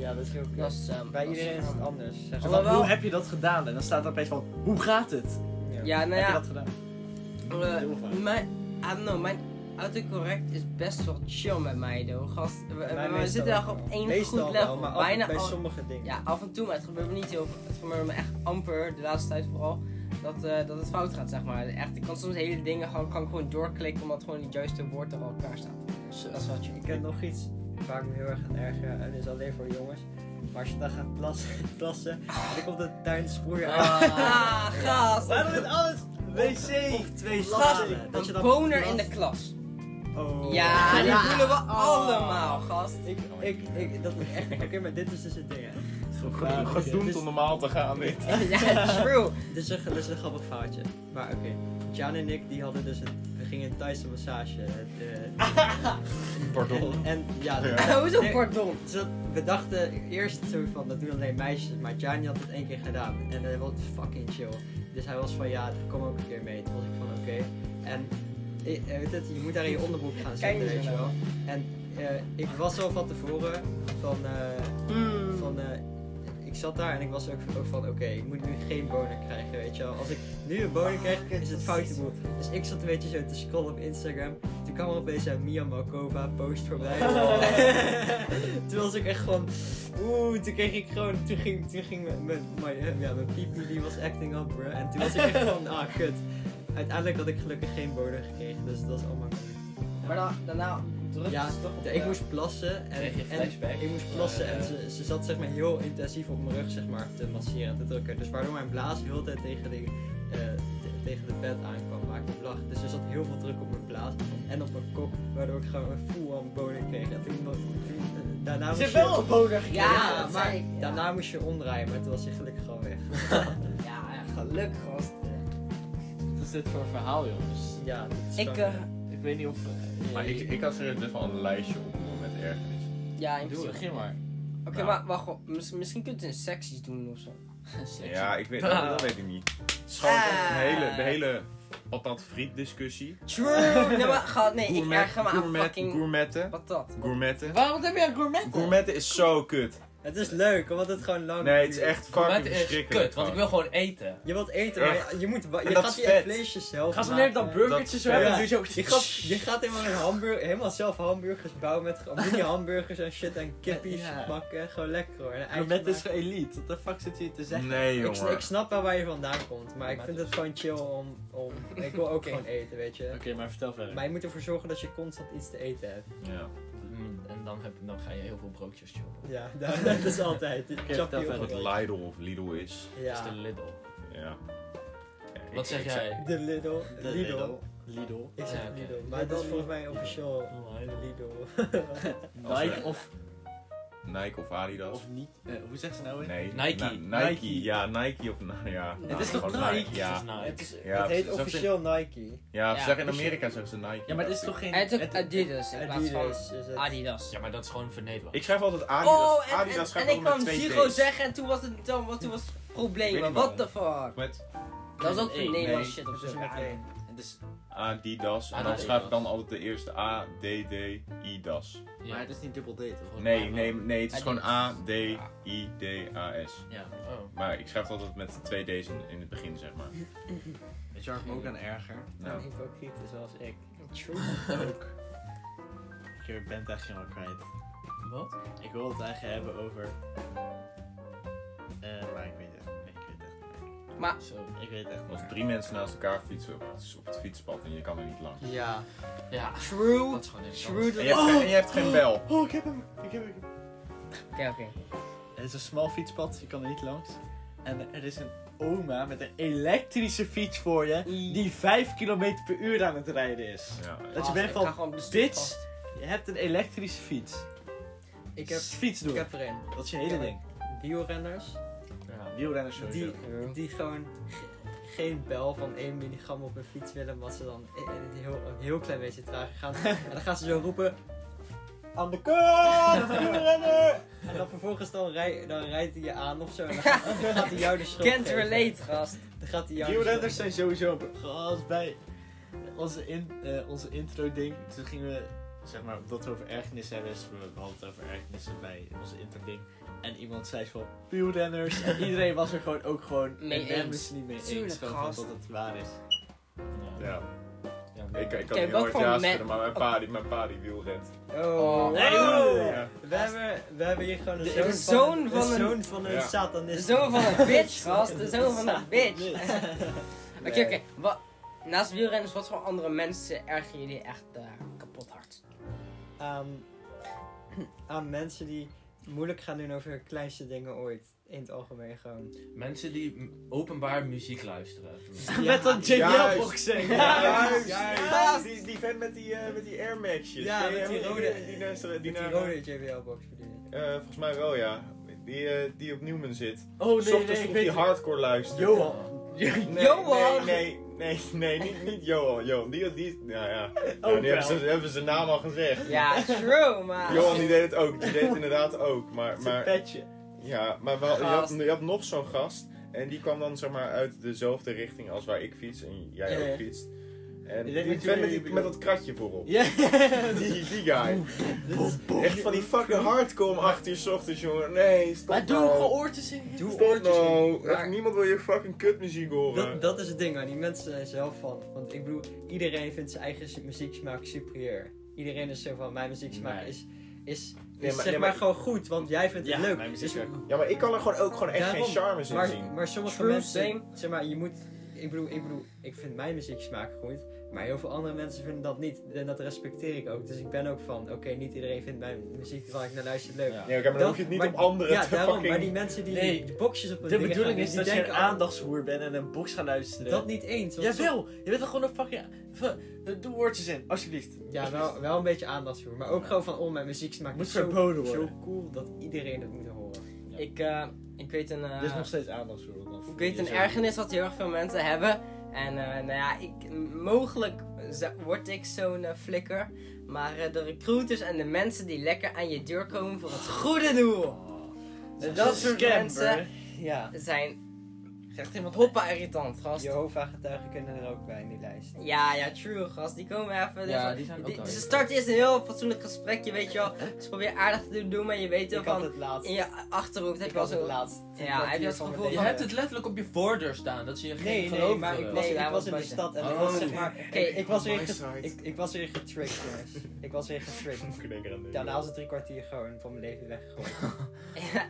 Speaker 4: ja, dat is heel
Speaker 2: Dat
Speaker 4: kut.
Speaker 2: is, ehm,
Speaker 4: Bij
Speaker 2: dat
Speaker 4: iedereen is het
Speaker 2: verhaal.
Speaker 4: anders. Zeg
Speaker 1: Zo
Speaker 4: maar.
Speaker 1: van,
Speaker 2: Alhoewel-
Speaker 1: hoe heb je dat gedaan? En dan staat er opeens van, hoe gaat het?
Speaker 2: Ja, nou
Speaker 1: Heb je
Speaker 2: ja,
Speaker 1: dat gedaan?
Speaker 2: eh,
Speaker 1: heel vaak.
Speaker 2: mijn, I don't know, mijn autocorrect is best wel chill met mij, though, gast. We, we- we
Speaker 4: Bij meestal
Speaker 2: zitten echt
Speaker 4: wel.
Speaker 2: op één
Speaker 4: Meestal
Speaker 2: goed
Speaker 4: wel,
Speaker 2: level,
Speaker 4: maar af-
Speaker 2: bijna
Speaker 4: bij
Speaker 2: al-
Speaker 4: sommige dingen.
Speaker 2: Ja, af en toe, maar het gebeurt me niet heel veel. Het gebeurt me echt amper, de laatste tijd vooral, dat, eh, dat het fout gaat, zeg maar. Echt, ik kan soms hele dingen gewoon, kan ik gewoon doorklikken, omdat gewoon het juiste woord er al klaar staat. Dat is wel chill.
Speaker 4: Ik heb nog iets waar ik me heel erg aan erger eh, en dat is alleen voor jongens. Maar als je dan gaat plassen, plassen en dan komt het daar in de sproeier uit.
Speaker 2: Ah, gast!
Speaker 1: Waarom is alles wc?
Speaker 4: Of twee
Speaker 2: Gast,
Speaker 4: slagen. Dat je
Speaker 2: een
Speaker 4: dan
Speaker 2: boner in de
Speaker 4: plast.
Speaker 2: klas.
Speaker 4: Oh.
Speaker 2: Ja, die
Speaker 1: Ja.
Speaker 2: voelen we allemaal, gast.
Speaker 4: Ik, ik, ik, dat is echt. Oké, maar dit is dus het ding. hè.
Speaker 1: Ja,
Speaker 5: Gedoemd
Speaker 4: dus-
Speaker 5: om normaal te gaan dit.
Speaker 2: ja, true.
Speaker 4: Dit is een, dit is een grappig foutje. Maar oké, Jan en ik die hadden dus een, we gingen een Thaise massage. Het, eh,
Speaker 5: Pardon.
Speaker 4: En, en ja, dat-
Speaker 2: Hoezo,
Speaker 4: Nee.
Speaker 2: pardon?
Speaker 4: Dus dat- we dachten eerst zo van, dat doen alleen meisjes, maar Gianni had het één keer gedaan. En hij was fucking chill. Dus hij was van, ja, kom ook een keer mee. Toen was ik van, oké. En eh, eh, weet het, je moet daar in je onderbroek gaan zitten,
Speaker 2: eens
Speaker 4: weet je
Speaker 2: naar
Speaker 4: wel. En eh, ik was al van tevoren van, eh,
Speaker 2: Mm.
Speaker 4: van eh, ik zat daar en ik was ook, ook van, oké, ik moet nu geen boner krijgen, weet je wel. Als ik nu een boner krijg, is het foute boel. Dus ik zat een beetje zo te scrollen op Instagram. Toen kwam er opeens een Mia Malkova post voorbij. toen was ik echt gewoon, oeh, toen kreeg ik gewoon, toen ging, toen ging mijn, mijn, mijn, eh, ja, mijn piepie die was acting up, bruh. En toen was ik echt van, ah, kut. Uiteindelijk had ik gelukkig geen boner gekregen, dus dat was allemaal goed.
Speaker 2: Maar dan, daarna druk
Speaker 4: Ja,
Speaker 2: ze toch op
Speaker 4: Ik
Speaker 2: de-
Speaker 4: moest plassen en,
Speaker 3: Kreeg je
Speaker 4: en
Speaker 3: flashback?
Speaker 4: ik moest plassen
Speaker 3: Ja, ja.
Speaker 4: en ze, ze zat zeg maar heel intensief op mijn rug zeg maar, te masseren en te drukken. Dus waardoor mijn blaas heel de tijd tegen de, eh, te- tegen de bed aankwam waar ik op lag. Dus er zat heel veel druk op mijn blaas en op mijn kop, waardoor ik gewoon een full on boner kreeg. En toen, mo- toen, eh, daarna
Speaker 1: Ze
Speaker 4: moest
Speaker 1: heeft
Speaker 4: je...
Speaker 1: wel een boner gekregen.
Speaker 2: Ja,
Speaker 4: Ja,
Speaker 2: dat
Speaker 4: maar
Speaker 2: zei ik, ja.
Speaker 4: daarna moest je omdraaien, maar toen was je gelukkig gewoon weg.
Speaker 2: Ja, ja, geluk, gast.
Speaker 1: Wat is dit voor verhaal, jongens?
Speaker 4: Ja, dat is
Speaker 2: Ik,
Speaker 4: gewoon-
Speaker 2: eh,
Speaker 1: Ik weet niet of... eh,
Speaker 5: Maar ik, ik had serieus best wel een lijstje op met ergernis.
Speaker 2: ja, in
Speaker 1: Doe
Speaker 2: principe.
Speaker 1: het, begin maar.
Speaker 2: Oké,
Speaker 5: Nou.
Speaker 2: maar wacht, op, mis- misschien kunt u een secties doen of zo.
Speaker 3: Sexy.
Speaker 5: Ja, ik weet, dat, dat weet ik niet. Het is gewoon
Speaker 1: Ah.
Speaker 5: echt de hele, de hele patat friet discussie.
Speaker 2: True! Ah. nee, maar, gast, nee, ik
Speaker 5: Gourmet-
Speaker 2: erger me aan
Speaker 5: gourmet-
Speaker 2: fucking
Speaker 5: Gourmetten.
Speaker 2: patat.
Speaker 5: Gourmetten.
Speaker 1: Waarom heb je een gourmet?
Speaker 5: Gourmetten is zo kut.
Speaker 4: Het is leuk, omdat het gewoon lang
Speaker 5: Nee, het is
Speaker 4: duurt.
Speaker 5: echt
Speaker 3: Gourmet
Speaker 5: fucking
Speaker 3: is
Speaker 5: verschrikkelijk.
Speaker 3: kut, want ik wil gewoon eten.
Speaker 4: Je wilt eten, maar
Speaker 5: Echt.
Speaker 4: je, je moet... wa- Je
Speaker 5: dat
Speaker 4: gaat
Speaker 5: is
Speaker 4: die
Speaker 5: vet.
Speaker 4: vleesjes zelf
Speaker 1: Ga ze
Speaker 4: maken.
Speaker 1: net dat burgertje zo
Speaker 5: Dat-
Speaker 1: hebben,
Speaker 4: ja.
Speaker 1: doe je ook...
Speaker 4: Je gaat, je gaat helemaal, een hamburger, helemaal zelf hamburgers bouwen met gewoon mini hamburgers en shit en kippies
Speaker 1: Ja.
Speaker 4: bakken. Gewoon lekker hoor. En een eitje
Speaker 1: Gourmet is
Speaker 4: maken.
Speaker 1: elite. Wat de fuck zit hier te zeggen?
Speaker 5: Nee,
Speaker 4: ik,
Speaker 5: jongen.
Speaker 4: ik snap wel waar je vandaan komt, maar ik
Speaker 1: Gourmet
Speaker 4: vind het gewoon chill om... om ik wil ook gewoon eten, weet je.
Speaker 1: Oké, maar vertel verder.
Speaker 4: Maar je moet ervoor zorgen dat je constant iets te eten hebt.
Speaker 5: Ja.
Speaker 3: Mm, En dan, heb, dan ga je heel veel broodjes choppen.
Speaker 4: Ja, dat, dat is altijd. Ik
Speaker 1: vertel
Speaker 4: chop die
Speaker 1: verder.
Speaker 5: Wat
Speaker 4: overal.
Speaker 5: Lidl of Lidl is.
Speaker 3: Dat is de
Speaker 4: Ja,
Speaker 3: Lidl.
Speaker 5: Ja. Ja, ik-
Speaker 3: Wat zeg
Speaker 5: ik zei-
Speaker 3: jij?
Speaker 4: de Lidl. Lidl.
Speaker 1: Lidl.
Speaker 4: Ik zeg
Speaker 3: Ja, oké.
Speaker 4: Lidl, maar dat is volgens mij officieel
Speaker 3: Lidl.
Speaker 4: Lidl.
Speaker 5: Als
Speaker 1: Nike
Speaker 5: we-
Speaker 1: of
Speaker 5: Nike of Adidas.
Speaker 1: Of niet? eh, hoe zeggen ze nou? weer?
Speaker 5: nee,
Speaker 3: Nike.
Speaker 5: Nike.
Speaker 1: Nike.
Speaker 5: Ja, Nike of na- ja.
Speaker 4: Het
Speaker 5: nou,
Speaker 1: is toch
Speaker 5: gewoon
Speaker 1: Nike?
Speaker 5: Ja,
Speaker 4: Het, is,
Speaker 5: Ja,
Speaker 4: het heet
Speaker 5: precies.
Speaker 4: officieel Nike.
Speaker 5: ja, ze
Speaker 2: Ja,
Speaker 5: zeggen in
Speaker 1: dus je-
Speaker 5: Amerika zeggen ze Nike.
Speaker 1: Ja, maar het is
Speaker 5: dacht
Speaker 1: toch
Speaker 5: ik.
Speaker 1: geen...
Speaker 2: En het is ook
Speaker 1: het-
Speaker 2: Adidas in plaats van
Speaker 4: Adidas is het.
Speaker 2: Adidas.
Speaker 3: Ja, maar dat is gewoon vernederend.
Speaker 5: Ik schrijf altijd Adidas.
Speaker 2: Oh, en, en,
Speaker 5: Adidas schrijf
Speaker 2: en ik
Speaker 5: altijd
Speaker 2: kwam
Speaker 5: met twee
Speaker 2: Zero
Speaker 5: T's.
Speaker 2: zeggen en toen was het, dan, wat- toen was het
Speaker 5: Ik
Speaker 2: probleem.
Speaker 5: weet
Speaker 2: maar
Speaker 5: niet
Speaker 2: What the
Speaker 5: Of
Speaker 2: fuck?
Speaker 5: Met
Speaker 2: Dat was ook
Speaker 1: Nee,
Speaker 2: een Nederlands
Speaker 1: nee.
Speaker 2: shit
Speaker 4: Dat
Speaker 2: of
Speaker 4: is
Speaker 2: zo.
Speaker 4: met één.
Speaker 1: Het is,
Speaker 5: Adidas. En dan
Speaker 3: Adidas.
Speaker 5: schrijf ik dan altijd de eerste A, D, D, I, das.
Speaker 1: Maar het is niet dubbel D, toch?
Speaker 5: Nee, nee, nee, het is gewoon A,
Speaker 2: Adidas.
Speaker 5: D, I, D, A, S.
Speaker 1: Ja.
Speaker 3: Oh.
Speaker 5: Maar ik schrijf het altijd met twee D's in, in het begin, zeg maar.
Speaker 1: Weet je waar ik me ook aan erger?
Speaker 4: Nou,
Speaker 5: Nou,
Speaker 4: hypocriet is zoals ik.
Speaker 1: ook. Ik ben het echt helemaal kwijt.
Speaker 3: Wat?
Speaker 1: Ik wil het eigenlijk hebben over... Eh, maar ik weet het. Ik weet het echt.
Speaker 3: Zo.
Speaker 1: Ik weet het echt
Speaker 5: als
Speaker 1: niet.
Speaker 5: drie mensen naast elkaar fietsen op het, op het fietspad en je kan er niet langs.
Speaker 4: Ja.
Speaker 3: Ja.
Speaker 2: True.
Speaker 3: Dat is gewoon
Speaker 2: True.
Speaker 3: irritant.
Speaker 5: En je hebt, geen- en je hebt geen bel.
Speaker 1: Oh, ik heb hem. Ik heb hem.
Speaker 2: Oké, oké.
Speaker 1: Het is een smal fietspad, je kan er niet langs. En er is een oma met een elektrische fiets voor je... die 5 km per uur aan het rijden is.
Speaker 5: Ja, ja.
Speaker 1: Dat je
Speaker 2: Ah,
Speaker 1: bent
Speaker 2: ik
Speaker 1: van,
Speaker 2: ga gewoon op de stoep
Speaker 1: dit...
Speaker 2: vast.
Speaker 1: Je hebt een elektrische fiets. Dus
Speaker 4: Ik heb,
Speaker 1: fiets
Speaker 4: ik
Speaker 1: doen.
Speaker 4: heb er een.
Speaker 1: Dat is je hele
Speaker 4: ik heb
Speaker 1: ding.
Speaker 4: Wielrenners.
Speaker 3: Ja.
Speaker 1: Wielrenners sowieso.
Speaker 4: Die, die gewoon ge- geen bel van 1 milligram op hun fiets willen, omdat ze dan e- een heel, een heel klein beetje trager gaan. en dan gaan ze zo roepen: Aan de kant, wielrenner! en dan vervolgens dan, rij, dan rijdt hij je aan of zo. En dan gaat dan gaat hij jou de schuld
Speaker 2: Can't
Speaker 4: geven.
Speaker 2: relate, gast.
Speaker 4: Dan gaat hij jou de
Speaker 1: Wielrenners
Speaker 4: schuld
Speaker 1: zijn sowieso een gast bij onze, in, eh, onze intro ding. Toen gingen we, zeg maar, omdat we over ergernissen hebben, dus we hadden het over ergernissen bij onze intro ding. En iemand zei van wielrenners. en iedereen was er gewoon ook gewoon
Speaker 2: Mee
Speaker 1: en we hebben
Speaker 2: eens.
Speaker 1: het niet mee eens.
Speaker 2: Tuurlijk,
Speaker 1: Gewoon
Speaker 2: gast.
Speaker 1: van dat het waar is.
Speaker 3: Ja.
Speaker 5: Ja.
Speaker 3: Ja,
Speaker 5: Ik, ik kan
Speaker 2: Oké,
Speaker 5: heel
Speaker 2: wat
Speaker 5: hard
Speaker 2: voor
Speaker 5: ja
Speaker 2: men-
Speaker 5: schudden, maar mijn pa die, mijn pa die wiel rent.
Speaker 4: geven. Oh.
Speaker 2: Oh.
Speaker 1: Nee,
Speaker 4: Oh.
Speaker 1: ja.
Speaker 4: We, hebben, we hebben hier gewoon een
Speaker 2: De-
Speaker 4: zoon,
Speaker 2: de zoon
Speaker 4: van,
Speaker 2: van
Speaker 4: de
Speaker 2: een-
Speaker 4: zoon van een
Speaker 5: Ja.
Speaker 2: De
Speaker 4: satanist.
Speaker 2: zoon van een bitch, gast. De zoon van een bitch.
Speaker 1: Nee.
Speaker 2: Oké, oké. Wat- Naast wielrenners, wat voor andere mensen ergen jullie echt eh, kapot hard?
Speaker 4: aan, ehm, aan mensen die moeilijk gaan doen over hun kleinste dingen ooit. In het algemeen gewoon.
Speaker 3: Mensen die m- openbaar muziek luisteren.
Speaker 1: Met dat
Speaker 5: Juist.
Speaker 1: JBL-boxing.
Speaker 5: Juist,
Speaker 4: Juist.
Speaker 5: Die, die vent met die, eh, met die Air Maxjes.
Speaker 4: Ja,
Speaker 5: Die,
Speaker 4: met die
Speaker 5: eh,
Speaker 4: rode-
Speaker 5: Die, die, naast de- die,
Speaker 4: Die
Speaker 5: naar-
Speaker 4: rode JBL-box verdienen.
Speaker 5: eh, volgens mij wel, ja. Die, eh, die op Newman zit.
Speaker 1: Oh
Speaker 5: S ochtends vroeg die hardcore luistert.
Speaker 1: Johan.
Speaker 5: Nee,
Speaker 2: Johan!
Speaker 5: Nee, nee, nee, nee, niet, niet Johan. Johan, die, die, nou ja.
Speaker 1: wel.
Speaker 5: ja die hebben ze, hebben ze naam al gezegd.
Speaker 2: Ja, true, maar...
Speaker 5: Johan die deed het ook, die deed het inderdaad ook. Maar,
Speaker 1: Zijn
Speaker 5: maar,
Speaker 1: petje.
Speaker 5: ja, maar wel, je, had,
Speaker 2: Gast.
Speaker 5: je had nog zo'n gast. En die kwam dan zeg maar uit dezelfde richting als waar ik fiets en jij
Speaker 4: Ja, ja.
Speaker 5: ook fietst. En
Speaker 1: Ik denk
Speaker 5: die
Speaker 1: dat
Speaker 5: vent met,
Speaker 1: jullie-
Speaker 5: die- met dat kratje voorop.
Speaker 1: Ja.
Speaker 5: Die, die guy. Echt van die fucking hardcore om 8 uur 's ochtends, jongen. Nee, stop
Speaker 1: Maar doe
Speaker 5: nou.
Speaker 1: gewoon oortjes in.
Speaker 4: Doe
Speaker 5: Stop
Speaker 4: oortjes in.
Speaker 5: nou. Echt
Speaker 4: Maar-
Speaker 5: niemand wil je fucking kutmuziek horen.
Speaker 4: Dat, dat is het ding waar die mensen zijn zelf van. Want ik bedoel, iedereen vindt zijn eigen su- muzieksmaak superieur. Iedereen is zo van, mijn muzieksmaak
Speaker 1: Nee.
Speaker 4: is, is, is
Speaker 5: maar-
Speaker 4: zeg
Speaker 5: nee, maar-
Speaker 4: maar, gewoon goed, want jij vindt het leuk.
Speaker 1: mijn muziek
Speaker 4: Dus-
Speaker 1: is ook goed.
Speaker 5: Ja, maar ik kan er gewoon ook gewoon echt
Speaker 4: Daarom.
Speaker 5: geen charme in zien.
Speaker 4: maar, maar sommige
Speaker 2: True,
Speaker 4: mensen,
Speaker 2: same.
Speaker 4: zeg maar, je moet, ik bedoel, ik bedoel, ik vind mijn muzieksmaak goed, maar heel veel andere mensen vinden dat niet. En dat respecteer ik ook. Dus ik ben ook van, oké, niet iedereen vindt mijn muziek waar ik naar luister leuk.
Speaker 3: Ja.
Speaker 5: Nee, oké, maar dan
Speaker 4: Dat-
Speaker 5: hoef je het niet
Speaker 4: maar-
Speaker 5: op anderen
Speaker 4: Ja,
Speaker 5: te
Speaker 4: daarom.
Speaker 5: fucking...
Speaker 4: Maar die mensen die
Speaker 1: Nee.
Speaker 4: de boxjes op hun
Speaker 1: De
Speaker 4: dingen
Speaker 1: bedoelen
Speaker 4: gaan
Speaker 1: is
Speaker 4: doen,
Speaker 1: dat
Speaker 4: die
Speaker 1: je een
Speaker 4: denken al-
Speaker 1: aandachtshoer bent en een box gaat luisteren.
Speaker 4: Dat niet eens. want som-
Speaker 1: Jawel, je bent toch gewoon een fucking... v- Doe woordjes in, alsjeblieft.
Speaker 4: Ja, wel, wel een beetje aandachtsvoer. Maar ook
Speaker 1: Ja.
Speaker 4: gewoon van, oh, mijn muzieksmaak
Speaker 1: Moet
Speaker 4: is zo,
Speaker 1: verboden worden.
Speaker 4: zo cool dat iedereen het moet horen.
Speaker 2: Ik, eh, ik weet een... eh,
Speaker 1: Dit is nog steeds aandachtshoer. want dan
Speaker 2: ik
Speaker 1: voel
Speaker 2: weet
Speaker 1: je
Speaker 2: een
Speaker 1: zo-
Speaker 2: ergernis wat heel erg veel mensen hebben. En eh, nou ja, ik, m- mogelijk z- word ik zo'n eh, flikker. Maar eh, de recruiters en de mensen die lekker aan je deur komen voor het goede doel.
Speaker 1: Oh. Dat,
Speaker 2: Dat
Speaker 1: soort
Speaker 2: soort
Speaker 1: mensen.
Speaker 2: mensen.
Speaker 4: Ja.
Speaker 2: Zijn echt helemaal hoppa irritant, gast.
Speaker 4: Jehovah-getuigen kunnen er ook bij in die lijst.
Speaker 2: Ja, ja, true, gast. Die komen even.
Speaker 3: Ja,
Speaker 2: even-
Speaker 3: die zijn ook wel
Speaker 2: Ze
Speaker 3: irritant.
Speaker 2: starten eerst een heel fatsoenlijk gesprekje, weet je wel. Ze proberen aardig te doen, maar je weet wel
Speaker 4: Ik had
Speaker 2: van.
Speaker 4: het laatst.
Speaker 2: In je achterhoofd heb
Speaker 4: Ik
Speaker 2: je al
Speaker 4: was het
Speaker 2: zo.
Speaker 4: laatst.
Speaker 2: Ja, heb je het gevoel
Speaker 3: Je
Speaker 2: van-
Speaker 3: hebt het letterlijk op je voordeur staan, dat ze je geen
Speaker 4: Nee, nee,
Speaker 3: geloof
Speaker 4: maar ik
Speaker 3: willen.
Speaker 4: was,
Speaker 2: Nee,
Speaker 4: ik
Speaker 2: daar
Speaker 4: was
Speaker 2: was
Speaker 4: in de
Speaker 2: buiten.
Speaker 4: stad en ik was
Speaker 5: Oh.
Speaker 4: zeg maar... oh,
Speaker 2: Oké,
Speaker 4: Ik, ik was weer
Speaker 5: my
Speaker 4: ge-
Speaker 5: side.
Speaker 4: ik, ik was weer getricked, jongens. Ik was weer getricked.
Speaker 5: Ik denk eraan nu.
Speaker 4: Daarna was het drie kwartier gewoon van mijn leven weggegooid.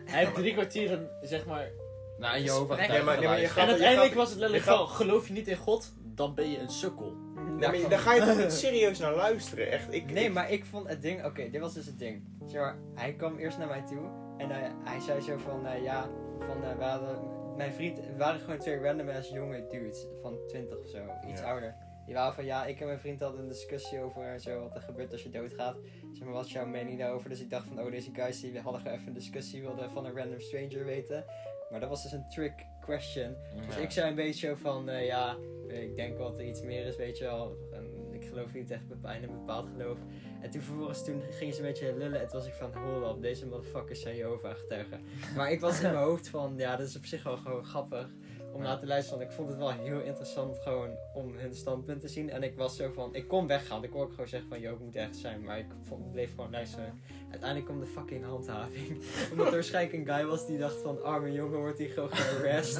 Speaker 1: Hij heeft drie kwartier, een, zeg maar...
Speaker 3: Nou, je hoofd
Speaker 2: Nee, maar-
Speaker 5: nee, maar je gaat-
Speaker 1: en
Speaker 5: je
Speaker 1: uiteindelijk
Speaker 5: gaat-
Speaker 1: was het letterlijk
Speaker 5: je
Speaker 1: van, geloof je niet in God, dan ben je een sukkel.
Speaker 5: Ja, maar daar ga je toch niet serieus naar luisteren, echt. Ik,
Speaker 4: Nee, maar ik vond het ding... Oké, dit was dus het ding. Zeg maar, hij kwam eerst naar mij toe. En hij- hij zei zo van... eh, ja, van... eh, we hadden, mijn vriend... We waren gewoon twee random ass jonge dudes. Van 20 of zo. Iets
Speaker 5: Ja.
Speaker 4: ouder. Die waren van ja, ik en mijn vriend hadden een discussie over eh, zo, wat er gebeurt als je doodgaat. Zeg maar, wat is jouw mening daarover? Dus ik dacht van, oh, deze guys die hadden gewoon even een discussie, wilden van een random stranger weten. Maar dat was dus een trick question. Dus ik zei een beetje zo van, eh, ja, ik denk wel dat er iets meer is, weet je wel. En ik geloof niet echt bij een bepaald geloof. En toen vervolgens toen gingen ze een beetje lullen. En toen was ik van, hold op, deze motherfuckers zijn Jehovah getuigen. Maar ik was in mijn hoofd van, ja, dat is op zich wel gewoon grappig om naar te luisteren. Want ik vond het wel heel interessant gewoon om hun standpunt te zien. En ik was zo van, ik kon weggaan. Ik kon ook gewoon zeggen van, yo, ik moet ergens zijn. Maar ik vond, bleef gewoon luisteren. Uiteindelijk kwam de fucking handhaving. Omdat er waarschijnlijk een guy was die dacht van, arme jongen wordt hier gewoon gearrest.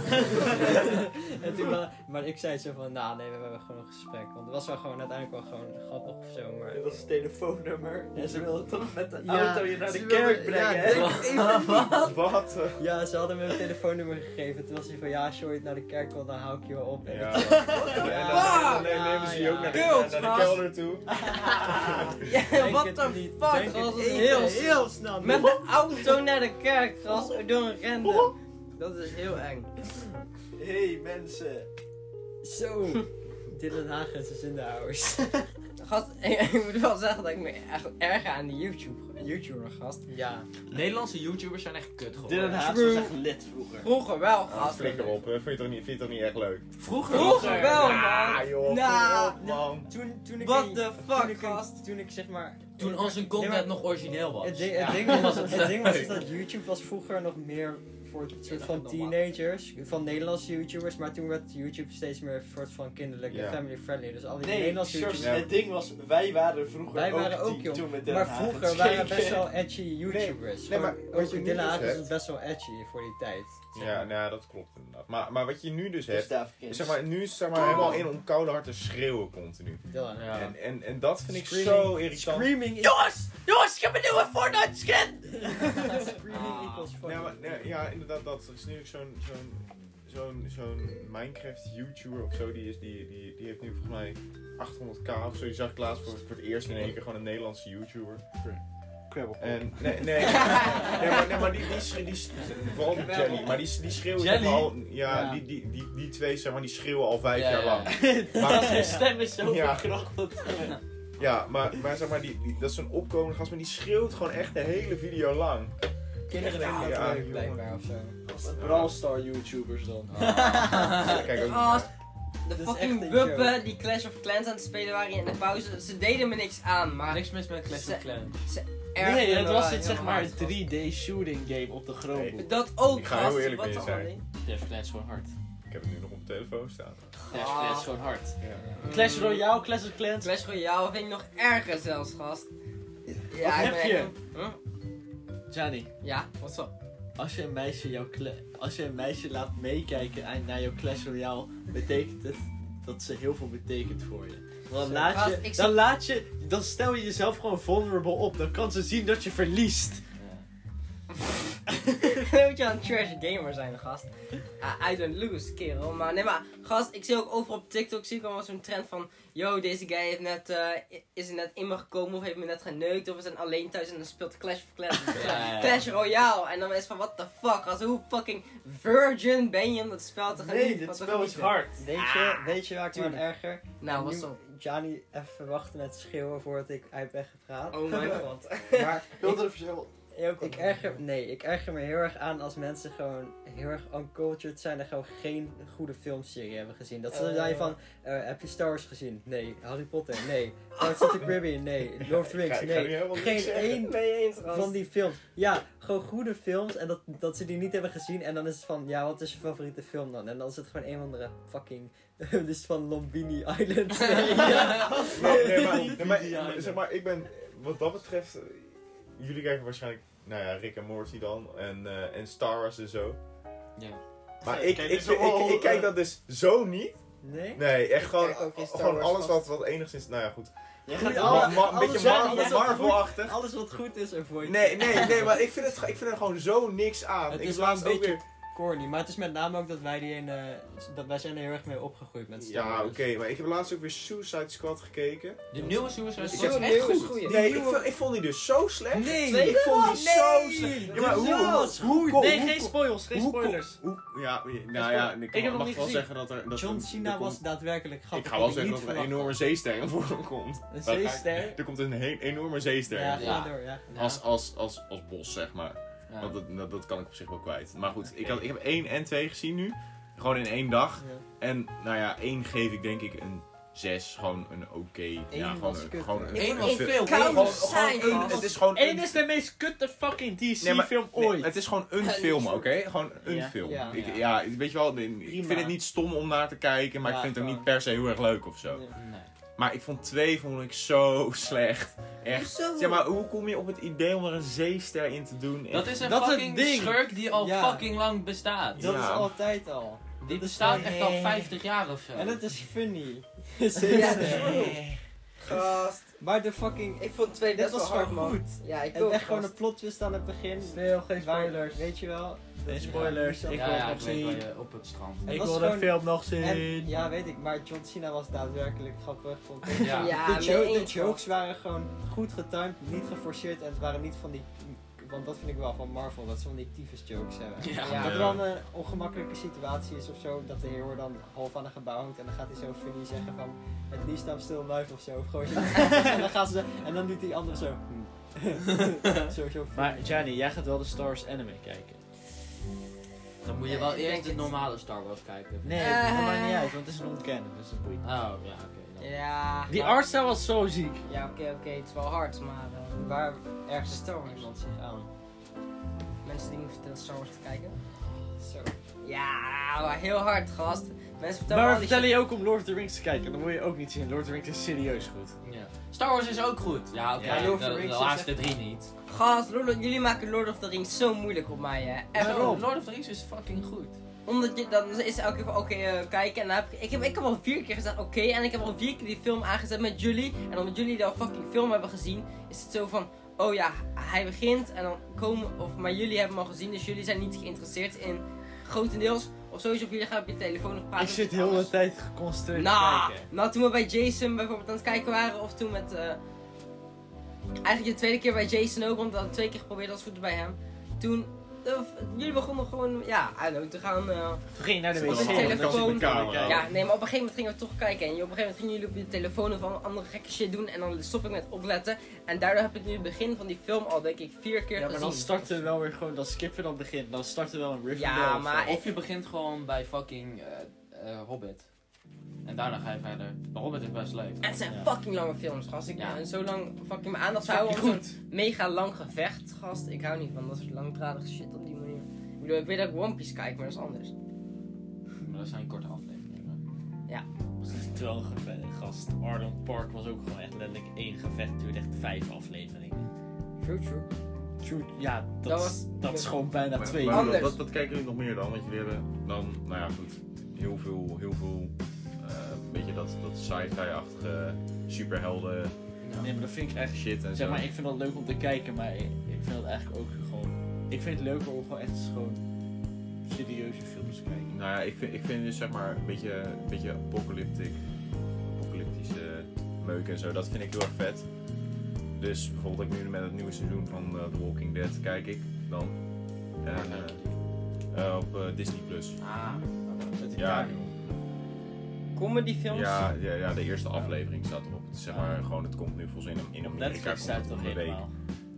Speaker 4: en toen wel- maar ik zei zo van, nou nee, we hebben gewoon een gesprek. Want het was wel gewoon uiteindelijk wel gewoon grappig of zo. Maar
Speaker 6: Dit was het telefoonnummer.
Speaker 4: Ja,
Speaker 6: En
Speaker 4: ze
Speaker 6: ze wilden toch met de
Speaker 4: Ja,
Speaker 6: auto je naar de
Speaker 4: ze wilden-
Speaker 6: kerk brengen,
Speaker 4: ja,
Speaker 6: hè?
Speaker 4: denk het even niet.
Speaker 5: Wat? eh.
Speaker 4: Ja, ze hadden me een telefoonnummer gegeven. Toen was hij van, ja, als je ooit naar de kerk wil, dan hou ik je wel op. En
Speaker 5: Ja.
Speaker 4: ik-
Speaker 5: En
Speaker 4: Ah, Ja,
Speaker 5: dan- dan nemen ze je ook naar de,
Speaker 2: Girls,
Speaker 5: naar de
Speaker 2: gast.
Speaker 5: kelder toe.
Speaker 2: Ja,
Speaker 4: Denk
Speaker 2: what
Speaker 4: het
Speaker 2: the
Speaker 4: niet,
Speaker 2: fuck,
Speaker 4: denk
Speaker 2: gast.
Speaker 4: het
Speaker 2: dat is
Speaker 4: niet.
Speaker 2: heel
Speaker 4: Heel, heel snel.
Speaker 2: Met de auto naar de kerk, gras, door een
Speaker 4: Oh.
Speaker 2: rende. Dat is heel eng.
Speaker 1: Hey mensen.
Speaker 4: Zo. Dylan Hagens is in de house.
Speaker 2: Gast, ik moet wel zeggen dat ik me echt erger aan de YouTube, YouTuber, gast.
Speaker 4: Ja.
Speaker 3: Nederlandse YouTubers zijn echt kut geworden.
Speaker 1: Dylan Haas was echt lid vroeger.
Speaker 2: Vroeger wel,
Speaker 5: Ah,
Speaker 2: gast.
Speaker 5: Flikker op, hè. vind je toch niet, vind je toch niet echt leuk?
Speaker 3: Vroeger,
Speaker 2: Vroeger wel, man.
Speaker 5: Ah joh,
Speaker 2: Nou,
Speaker 5: kom op, man.
Speaker 4: Toen, toen ik...
Speaker 2: What the
Speaker 4: toen
Speaker 2: fuck,
Speaker 4: ik,
Speaker 2: gast.
Speaker 4: toen ik zeg maar...
Speaker 3: Toen onze content nog origineel was.
Speaker 4: Het ding, het ding was, het ding was dus dat YouTube was vroeger nog meer voor het soort van teenagers, van Nederlandse YouTubers, maar toen werd YouTube steeds meer een soort van kinderlijk en
Speaker 5: Ja.
Speaker 4: family friendly. Dus al die
Speaker 1: Nee,
Speaker 4: Nederlandse
Speaker 1: Sjors,
Speaker 4: YouTubers.
Speaker 5: YouTube.
Speaker 1: het ding was, wij waren vroeger
Speaker 4: Wij waren
Speaker 1: ook,
Speaker 4: ook
Speaker 1: die
Speaker 4: jong.
Speaker 1: toen met Den
Speaker 4: Maar
Speaker 1: Haag
Speaker 4: vroeger
Speaker 1: het
Speaker 4: waren
Speaker 1: keken.
Speaker 4: best wel edgy YouTubers.
Speaker 5: nee, maar
Speaker 4: Gewoon
Speaker 5: wat
Speaker 4: ook
Speaker 5: je nu
Speaker 4: Dylan
Speaker 5: dus
Speaker 4: Hagens
Speaker 5: hebt-
Speaker 4: was best wel edgy voor die tijd.
Speaker 5: Ja, nou, dat klopt inderdaad. Maar, maar wat je nu dus hebt,
Speaker 1: Gustav Kings.
Speaker 5: is zeg maar, nu is het zeg maar helemaal in om koude harten schreeuwen continu.
Speaker 4: Dylan.
Speaker 3: Ja.
Speaker 5: En, en, en dat vind ik
Speaker 4: Screaming-
Speaker 5: zo irritant.
Speaker 4: Screaming,
Speaker 3: Jongens! Jongens, ik heb een nieuwe Fortnite skin!
Speaker 4: screaming equals fucking.
Speaker 5: Nee, maar, nee, ja, inderdaad, dat. Er is nu ook zo'n zo'n zo'n zo'n Minecraft-YouTuber of zo, die, is, die, die, die heeft nu volgens mij 800k of zo. Die zag ik laatst voor, voor het eerst in één keer gewoon een Nederlandse YouTuber.
Speaker 1: Krabbel.
Speaker 5: En, nee, nee, nee, maar, nee, maar die, die, schreeuwen, die, die- vooral die Jelly, maar die, die schreeuwen
Speaker 3: Jelly?
Speaker 5: zeg maar al, ja,
Speaker 4: Ja.
Speaker 5: Die, die, die, die twee zeg maar, die schreeuwen al vijf
Speaker 3: Ja,
Speaker 5: jaar
Speaker 3: ja, ja.
Speaker 5: lang. Maar,
Speaker 6: Zijn stem is zo
Speaker 5: Ja.
Speaker 6: verkracht.
Speaker 5: ja, maar, maar zeg maar, die, die- dat is zo'n opkomende gast, maar die schreeuwt gewoon echt de hele video lang.
Speaker 4: Kinderen
Speaker 5: Ja,
Speaker 4: vinden
Speaker 5: ja,
Speaker 4: dat leuk
Speaker 5: jongen.
Speaker 4: blijkbaar of zo.
Speaker 1: Brawl Star YouTubers dan.
Speaker 5: Kijk ook
Speaker 3: Oh,
Speaker 2: Gast. De
Speaker 4: is
Speaker 2: fucking
Speaker 4: echt een
Speaker 2: wuppen die Clash of Clans aan het spelen waren in de pauze. Ze deden me niks aan, maar
Speaker 3: Niks mis met Clash
Speaker 2: Ze-
Speaker 3: of Clans.
Speaker 2: erger
Speaker 1: nee, het
Speaker 2: dan
Speaker 1: was
Speaker 2: wel
Speaker 1: dit zeg
Speaker 2: helemaal
Speaker 1: maar
Speaker 2: niet,
Speaker 1: 3D
Speaker 2: gast.
Speaker 1: shooting game op de Chromebook.
Speaker 5: Nee.
Speaker 2: Dat ook,
Speaker 5: Ik ga heel
Speaker 2: gast.
Speaker 5: eerlijk
Speaker 2: Wat
Speaker 5: met je
Speaker 2: dan
Speaker 5: zijn.
Speaker 2: wel niet?
Speaker 3: Clash of Clans is gewoon hard.
Speaker 5: Ik heb het nu nog op mijn telefoon staan.
Speaker 3: Clash of Clans is gewoon hard.
Speaker 1: Ah. Clash Royale, Clash of Clans.
Speaker 2: Ah. Clash Royale vind ik nog erger zelfs, gast. Ja,
Speaker 1: Wat heb
Speaker 2: ik ben
Speaker 1: je?
Speaker 2: echt- Huh?
Speaker 1: Johnny,
Speaker 2: Ja, wat zo?
Speaker 1: als je een meisje, jouw cla- als je een meisje laat meekijken aan- naar jouw Clash Royale, betekent het dat ze heel veel betekent voor je. Want Dan laat
Speaker 2: Gast,
Speaker 1: je,
Speaker 2: ik
Speaker 1: dan
Speaker 2: zit-
Speaker 1: laat je, dan stel je jezelf gewoon vulnerable op. Dan kan ze zien dat je verliest.
Speaker 2: Dan moet je een trash gamer zijn, gast. Ah, I don't lose, kerel. Maar nee, maar gast, ik zie ook over op TikTok zie ik allemaal zo'n trend van... Yo, deze guy heeft net, eh, i- is er net in me gekomen of heeft me net geneukt... of is een alleen thuis en dan speelt Clash of Clans.
Speaker 3: Ja, ja.
Speaker 2: Clash Royale. En dan is van, what the fuck, gast. Hoe fucking virgin ben je om dat spel te gaan
Speaker 1: Nee,
Speaker 2: doen?
Speaker 1: dit
Speaker 2: Wat te
Speaker 1: spel is
Speaker 2: genieten?
Speaker 1: hard. Ah.
Speaker 4: Weet je, weet je waar ik me aan
Speaker 2: Ah, tuurlijk.
Speaker 4: erger?
Speaker 2: Nou, wat
Speaker 4: Nu-
Speaker 2: zo?
Speaker 4: Johnny, even wachten met schreeuwen voordat ik uit ben gepraat.
Speaker 2: Oh mijn god.
Speaker 4: Maar
Speaker 1: Wilde er verschil.
Speaker 4: ik, ik erger, nee, ik erger me heel erg aan als mensen gewoon heel erg uncultured zijn en gewoon geen goede filmserie hebben gezien. Dat ze dan zijn van, eh, heb je Star Wars gezien? Nee. Harry Potter? Nee. Pirates of the Caribbean? Nee. Lord of the Rings?
Speaker 5: Ik ga nu
Speaker 4: Nee.
Speaker 5: helemaal niks
Speaker 4: Geen
Speaker 5: zeggen.
Speaker 4: één
Speaker 2: Mee eens,
Speaker 4: van die films. Ja, gewoon goede films en dat, dat ze die niet hebben gezien. En dan is het van, ja, wat is je favoriete film dan? En dan is het gewoon een of andere fucking... dus van Lombini Island.
Speaker 5: Nee, nee, maar, nee, maar- zeg maar, ik ben, wat dat betreft, eh, jullie kijken waarschijnlijk, nou ja, Rick en Morty dan, en, eh, en Star Wars en zo.
Speaker 3: Ja.
Speaker 5: Maar ik,
Speaker 1: Kijk, dit
Speaker 5: ik,
Speaker 1: is
Speaker 5: ik,
Speaker 1: wel-
Speaker 5: ik, kijk dat dus zo niet.
Speaker 4: Nee?
Speaker 5: Nee, echt gewoon,
Speaker 4: kijk ook geen Star
Speaker 5: gewoon
Speaker 4: Wars,
Speaker 5: alles wat,
Speaker 4: gast.
Speaker 5: wat enigszins, nou ja, goed.
Speaker 1: Jij
Speaker 4: Goeie
Speaker 1: gaat
Speaker 4: Alles-
Speaker 1: allemaal...
Speaker 5: Ma- ma- een
Speaker 4: alles
Speaker 5: beetje
Speaker 4: wat-
Speaker 5: Marvel-
Speaker 4: alles wat goed-
Speaker 5: Marvel-achtig.
Speaker 4: Alles wat goed is, avoid.
Speaker 5: Nee, nee, nee, maar ik vind, het, ik vind er gewoon zo niks aan.
Speaker 3: Het
Speaker 5: ik
Speaker 3: is
Speaker 5: laat
Speaker 3: wel een beetje-
Speaker 5: weer...
Speaker 4: corny. Maar het is met name ook dat wij die ene, dat wij zijn er heel erg mee opgegroeid met Star
Speaker 5: Ja,
Speaker 4: Wars.
Speaker 5: oké, maar ik heb laatst ook weer Suicide Squad gekeken.
Speaker 3: De nieuwe Suicide
Speaker 5: Ik
Speaker 3: Squad is
Speaker 5: heb-
Speaker 3: echt goed.
Speaker 2: goeie.
Speaker 5: Nee, ik vond, ik vond die dus zo slecht.
Speaker 4: Nee!
Speaker 5: Ik vond die zo slecht. Ja, maar hoe, hoe, hoe, hoe,
Speaker 1: Nee,
Speaker 5: hoe-
Speaker 1: geen spoilers, geen
Speaker 5: hoe kon-
Speaker 1: spoilers.
Speaker 5: hoe- ja, nou ja, ik,
Speaker 1: heb hem
Speaker 5: mag
Speaker 1: niet
Speaker 5: wel
Speaker 1: gezien.
Speaker 5: zeggen dat er... Dat
Speaker 4: John
Speaker 5: er-
Speaker 4: Cena
Speaker 5: er komt-
Speaker 4: was daadwerkelijk grappig.
Speaker 5: Ik ga wel
Speaker 4: had
Speaker 5: zeggen dat
Speaker 4: niet
Speaker 5: er een
Speaker 4: verwacht.
Speaker 5: enorme zeesterm voor hem komt.
Speaker 4: Een
Speaker 5: Maar-
Speaker 4: zeester.
Speaker 5: Er komt een heel enorme zeester.
Speaker 4: Ja,
Speaker 3: Ja.
Speaker 4: ga door, ja.
Speaker 5: Als, als, als, als bos, zeg maar.
Speaker 3: Ja.
Speaker 5: Want dat, dat, dat kan ik op zich wel kwijt. Maar goed, ik, had, ik heb 1 en 2 gezien nu. Gewoon in één dag.
Speaker 4: Ja.
Speaker 5: En nou ja, 1 geef ik denk ik een 6. Gewoon een oké. Ja, gewoon
Speaker 4: was
Speaker 5: een.
Speaker 4: kut,
Speaker 5: Gewoon
Speaker 4: hè?
Speaker 5: een
Speaker 3: Eén was
Speaker 5: een-
Speaker 3: veel.
Speaker 2: Koude
Speaker 3: één was-
Speaker 2: saai,
Speaker 5: gewoon één-
Speaker 2: gast.
Speaker 5: Het is gewoon.
Speaker 1: En
Speaker 5: een-
Speaker 1: het is de meest kutte fucking
Speaker 5: Nee, maar-
Speaker 1: DC-film
Speaker 5: nee,
Speaker 1: ooit.
Speaker 5: het is gewoon een film, oké? Gewoon een
Speaker 1: Ja.
Speaker 5: film.
Speaker 4: Ja.
Speaker 5: Ik, ja, weet je wel, ik vind het niet stom om naar te kijken, maar
Speaker 4: Ja,
Speaker 5: ik vind het ook
Speaker 4: gewoon.
Speaker 5: niet per se heel erg leuk of zo.
Speaker 4: Nee.
Speaker 3: Nee.
Speaker 5: Maar ik vond twee vond ik zo slecht. Echt.
Speaker 2: Hoezo?
Speaker 5: Zeg maar, hoe kom je op het idee om er een zeester in te doen?
Speaker 3: Dat is een
Speaker 4: Dat is het
Speaker 3: fucking
Speaker 4: ding.
Speaker 3: schurk die al
Speaker 4: Ja.
Speaker 3: fucking lang bestaat.
Speaker 4: Dat is
Speaker 5: Ja.
Speaker 4: altijd al.
Speaker 3: Die
Speaker 4: Dat is
Speaker 3: bestaat
Speaker 4: gewoon-
Speaker 3: echt al 50 jaar of zo.
Speaker 4: En het is funny.
Speaker 2: Ja,
Speaker 4: Zeester.
Speaker 2: true. Gast.
Speaker 4: Maar de fucking...
Speaker 2: Ik vond twee
Speaker 4: Dit
Speaker 2: best wel
Speaker 4: was
Speaker 2: hard,
Speaker 4: gewoon
Speaker 2: man.
Speaker 4: goed.
Speaker 2: Ja, ik
Speaker 4: En
Speaker 2: ook.
Speaker 4: echt gewoon een
Speaker 2: gast.
Speaker 4: plot twist aan het begin.
Speaker 1: Veel, geen
Speaker 4: Waar-
Speaker 1: spoilers.
Speaker 4: Weet je wel?
Speaker 1: Geen
Speaker 4: Dat-
Speaker 1: spoilers.
Speaker 4: Ja,
Speaker 1: Ik
Speaker 3: ja,
Speaker 1: wil
Speaker 3: ja,
Speaker 1: het
Speaker 3: ik
Speaker 1: nog
Speaker 3: weet
Speaker 1: zien.
Speaker 3: waar je op het strand.
Speaker 4: Het
Speaker 1: Ik
Speaker 4: was
Speaker 1: wil de
Speaker 4: gewoon-
Speaker 1: film nog
Speaker 4: En,
Speaker 1: zien.
Speaker 4: ja, weet ik. Maar John Cena was daadwerkelijk grappig. Vond ik.
Speaker 3: Ja.
Speaker 2: Ja,
Speaker 4: de,
Speaker 2: mee
Speaker 4: jo- de
Speaker 2: eens,
Speaker 4: jokes waren gewoon goed getimed, niet geforceerd en het waren niet van die... Want dat vind ik wel van Marvel, dat ze van die tyfus jokes hebben.
Speaker 3: Ja.
Speaker 2: Ja.
Speaker 4: Dat er dan een ongemakkelijke situatie is of zo, dat de hero dan half aan een gebouw hangt en dan gaat hij zo funny zeggen van het liefst I'm still alive of zo. Of gewoon zo. en, dan gaan ze, en dan doet die andere zo. hmm. zo, zo
Speaker 1: Maar Gianni, jij gaat wel de Star Wars anime kijken.
Speaker 3: Dan moet je
Speaker 2: Nee,
Speaker 3: wel
Speaker 2: ik
Speaker 3: eerst
Speaker 2: denk
Speaker 3: de
Speaker 2: het.
Speaker 3: normale Star Wars kijken.
Speaker 1: Nee,
Speaker 2: Eh.
Speaker 1: dat maakt niet uit, want het is een ontkennen. Dus dat boeit niet.
Speaker 3: Oh, ja, oké. dan.
Speaker 2: Ja.
Speaker 1: Die
Speaker 2: maar-
Speaker 1: artstyle was zo ziek.
Speaker 2: Ja, oké, oké. Het is wel hard, maar... eh,
Speaker 4: Waar
Speaker 2: ergens Star Wars.
Speaker 4: iemand zich aan?
Speaker 2: Mensen die moeten vertellen Star Wars te kijken.
Speaker 4: Zo.
Speaker 2: Ja, maar heel hard, gast. Mensen vertellen
Speaker 1: Maar we
Speaker 2: al die shit.
Speaker 1: vertellen je ook om Lord of the Rings te kijken. Dan moet je ook niet zien. Lord of the Rings is serieus goed.
Speaker 2: Ah,
Speaker 3: Ja. Star Wars is ook goed. Ja, oké.
Speaker 1: Ja,
Speaker 3: de-
Speaker 4: Lord of the
Speaker 3: de,
Speaker 4: Rings is
Speaker 3: laatste drie niet.
Speaker 2: Gast, Lord of- jullie maken Lord of the Rings zo moeilijk op mij, hè. Echt.
Speaker 1: Waarom?
Speaker 3: Lord of the Rings is fucking goed.
Speaker 2: Omdat je, dan is elke keer van, oké, eh, kijken. En dan heb ik, ik, heb, ik heb al vier keer gezegd, oké. en ik heb al vier keer die film aangezet met jullie. En omdat jullie dan fucking film hebben gezien, is het zo van, oh ja, hij begint. En dan komen, of, maar jullie hebben hem al gezien, dus jullie zijn niet geïnteresseerd in grotendeels. Of sowieso, of jullie gaan op je telefoon of praten.
Speaker 1: Ik zit
Speaker 2: met
Speaker 1: heel de
Speaker 2: alles.
Speaker 1: tijd geconcentreerd te
Speaker 2: Nou,
Speaker 1: kijken.
Speaker 2: nou, toen we bij Jason bijvoorbeeld aan het kijken waren, of toen met. eh, eigenlijk de tweede keer bij Jason ook, want we hadden twee keer geprobeerd als goed bij hem. Toen. eh, jullie begonnen gewoon. Ja, I don't know, te gaan. eh,
Speaker 1: Toen ging je naar de
Speaker 5: Zit
Speaker 1: wc.
Speaker 5: op de
Speaker 1: en dan
Speaker 2: telefoon.
Speaker 1: zit ik aan
Speaker 5: Oh.
Speaker 1: te kijken.
Speaker 2: ja, nee, maar op een gegeven moment gingen we toch kijken. En op een gegeven moment gingen jullie op je telefoon of an- andere gekke shit doen. En dan stop ik met opletten. En daardoor heb ik nu het begin van die film al, denk ik, vier keer
Speaker 1: Ja, maar
Speaker 2: gezien.
Speaker 1: dan starten we wel weer gewoon, dan skippen we dan het begin. Dan starten we wel een Riverdale.
Speaker 2: Ja,
Speaker 1: of zo.
Speaker 2: maar-
Speaker 3: Of je begint gewoon bij fucking eh, eh, Hobbit. En daarna ga je verder. Maar Hobbit is best leuk.
Speaker 2: En het zijn
Speaker 1: Ja.
Speaker 2: fucking lange films, gast. Ik
Speaker 3: Ja.
Speaker 2: ben zo lang fucking mijn aandacht houden. om zo'n- mega lang gevecht, gast. Ik hou niet van dat soort langdradige shit op die manier. Ik bedoel, ik weet dat ik One Piece kijk, maar dat is anders.
Speaker 3: Maar dat zijn korte afleveringen.
Speaker 1: Terwijl een geve- gast Arlen Park was ook gewoon echt letterlijk één gevecht. Duurde echt vijf afleveringen.
Speaker 2: True, true.
Speaker 1: Ja, dat,
Speaker 2: Dat
Speaker 1: is,
Speaker 2: was-
Speaker 1: dat is gewoon bijna
Speaker 5: Maar-
Speaker 1: twee
Speaker 5: maar
Speaker 1: uur.
Speaker 2: Anders.
Speaker 5: Dat, dat kijken jullie nog meer dan, want jullie hebben dan, nou ja goed, heel veel, heel veel, eh weet je, dat, dat sci-fi-achtige superhelden
Speaker 1: Nee, maar dat vind ik echt...
Speaker 5: shit en
Speaker 1: Zeg
Speaker 5: zo.
Speaker 1: maar, ik vind dat leuk om te kijken, maar ik, ik vind het eigenlijk ook gewoon... Ik vind het leuker om gewoon echt gewoon serieuze films te kijken.
Speaker 5: Nou ja, ik vind, ik vind dus zeg maar een beetje, een beetje apocalyptic, apocalyptische meuk en zo. Dat vind ik heel erg vet. Dus bijvoorbeeld ik nu met het nieuwe seizoen van eh, The Walking Dead kijk ik dan. En, eh, eh, op eh, Disney Plus.
Speaker 3: Ah,
Speaker 1: Met
Speaker 5: Ja,
Speaker 1: elkaar.
Speaker 2: Comedy films?
Speaker 5: ja, ja, ja, de eerste aflevering staat erop. Het is zeg maar gewoon, het komt nu volgens mij in, in Amerika.
Speaker 1: Netflix
Speaker 5: komt
Speaker 1: staat
Speaker 5: het
Speaker 1: toch
Speaker 5: om de week.
Speaker 1: helemaal.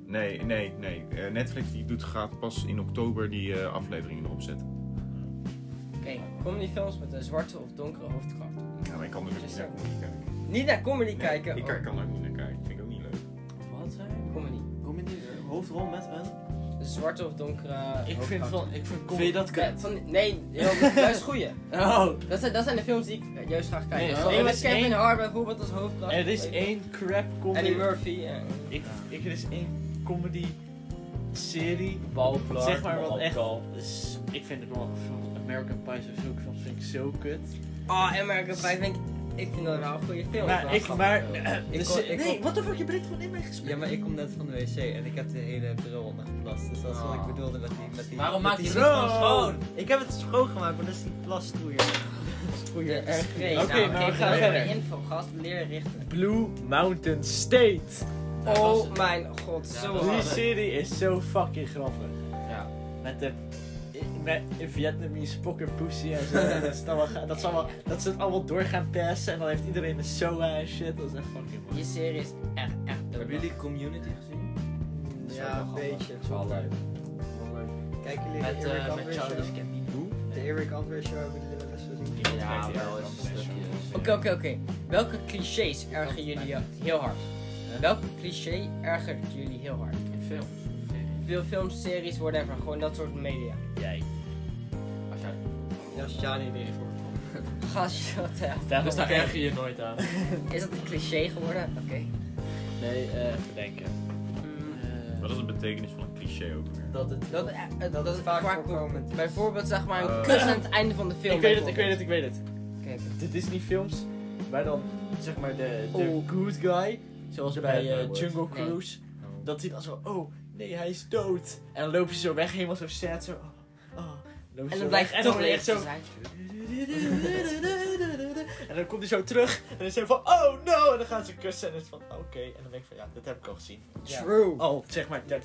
Speaker 5: Nee, nee, nee. Eh, Netflix die doet, gaat pas in oktober die eh, afleveringen erop zetten.
Speaker 2: Oké, comedy films met een zwarte of donkere hoofdkracht.
Speaker 5: Ja, Nou, maar ik kan er ook niet naar comedy kijken.
Speaker 2: Niet naar comedy
Speaker 5: Nee,
Speaker 2: kijken.
Speaker 5: Ik
Speaker 2: oh,
Speaker 5: kan- kan er ook niet naar kijken. Vind ik ook niet leuk.
Speaker 3: wat zijn?
Speaker 2: Comedy.
Speaker 7: Kom in die hoofdrol met een...
Speaker 2: Een zwarte of donkere
Speaker 5: Oh,
Speaker 1: Ik
Speaker 2: hoofdkracht.
Speaker 1: vind, van, ik vind,
Speaker 7: Vind je dat
Speaker 2: Ja,
Speaker 7: kut?
Speaker 2: van, nee, heel- juist goeie.
Speaker 3: Oh!
Speaker 2: Dat zijn, dat zijn de films die ik eh, juist graag kijk.
Speaker 1: Nee,
Speaker 2: Nee,
Speaker 1: er
Speaker 2: Eén met
Speaker 1: is
Speaker 2: Kevin
Speaker 1: één-
Speaker 2: Hart bijvoorbeeld als hoofdkracht.
Speaker 1: Er is één crap
Speaker 2: Eddie
Speaker 1: comedy.
Speaker 2: Murphy. eh. en-
Speaker 1: Ik, ik, er is één comedy serie.
Speaker 3: Balplaat.
Speaker 1: Zeg maar wat echt. is- ik vind het wel. American Pie of zulke films vind ik zo kut.
Speaker 2: Oh, Ah, American Pie vind ik Ik vind dat wel een goede film.
Speaker 1: Maar ik, maar...
Speaker 4: Ik
Speaker 1: Dus-
Speaker 4: kon- ik
Speaker 1: nee,
Speaker 4: kon-
Speaker 1: what the fuck, je bent gewoon in mij gespeeld.
Speaker 4: Ja, maar ik kom net van de wc en ik heb de hele bril ondergeplast. Dus dat is wat ik bedoelde met die... Met die
Speaker 3: Waarom
Speaker 4: met
Speaker 3: maak je
Speaker 4: die
Speaker 3: het niet gewoon
Speaker 4: bril?
Speaker 3: schoon?
Speaker 4: Ik heb het schoongemaakt, maar dat is die plastroeier. Nou,
Speaker 2: Goeie, erg vreemd. Nou,
Speaker 1: Oké, maar we gaan verder.
Speaker 2: Info, gast, leer richten.
Speaker 1: Blue Mountain State.
Speaker 3: Dat was-
Speaker 2: Oh mijn god,
Speaker 3: Ja,
Speaker 2: zo
Speaker 3: dat
Speaker 1: Die
Speaker 3: was-
Speaker 2: hard.
Speaker 1: serie is zo fucking grappig.
Speaker 2: Ja.
Speaker 1: Met de met een Vietnamese pokkerpussy en zo. En dat, is dan wel ga- dat, zal wel, dat ze het allemaal door gaan passen en dan heeft iedereen een SOA en shit. Dat is echt fucking mooi.
Speaker 2: Je serie is echt, echt dope.
Speaker 3: Hebben jullie Community gezien?
Speaker 4: Ja, een beetje.
Speaker 3: Wel leuk.
Speaker 4: Kijken jullie
Speaker 3: Met,
Speaker 4: de Eric
Speaker 3: eh,
Speaker 4: Andre
Speaker 3: met Childish
Speaker 4: Show?
Speaker 3: Gambino.
Speaker 4: De Eric Andre Show hebben jullie wel eens gezien.
Speaker 3: Ja, wel eens stukjes.
Speaker 2: Oké, oké, oké. Welke clichés ergeren jullie eh, heel hard? Welke cliché ergert jullie heel hard?
Speaker 3: In films.
Speaker 2: Veel films, series, whatever. Gewoon dat soort media.
Speaker 1: Jij.
Speaker 3: Als jij...
Speaker 4: Ja, Shani weer voor.
Speaker 2: Gast, je dat eh,
Speaker 3: Dus daar erger je je nooit aan.
Speaker 2: Is dat een cliché geworden? Oké.
Speaker 1: Nee, eh even denken.
Speaker 2: Mm,
Speaker 4: Eh,
Speaker 5: Wat is de betekenis van een cliché ook weer?
Speaker 4: Dat het...
Speaker 2: dat, eh, eh, dat,
Speaker 4: Dat
Speaker 2: is vaak voorkomend. Bijvoorbeeld zeg maar een
Speaker 5: Eh,
Speaker 2: kus aan het einde van de film.
Speaker 1: Ik weet het, ik weet het, ik weet het.
Speaker 2: Kijk,
Speaker 1: De Disney films, waar dan zeg maar de, de
Speaker 2: Oh.
Speaker 1: good guy, zoals bij eh, Jungle
Speaker 2: Nee.
Speaker 1: Cruise, dat hij dan zo, oh nee, hij is dood. En dan lopen ze zo weg, helemaal zo sad, zo, oh, oh. Lopen ze
Speaker 2: en
Speaker 1: zo
Speaker 2: dan blijkt
Speaker 1: weg.
Speaker 2: het toch
Speaker 1: dan
Speaker 2: leeg
Speaker 1: echt zo,
Speaker 2: te zijn.
Speaker 1: En dan komt hij zo terug en dan is hij van oh no! En dan gaan ze kussen en dan is het van oké. En dan denk ik van ja, dat heb ik al gezien.
Speaker 4: True.
Speaker 1: Al zeg maar 30.000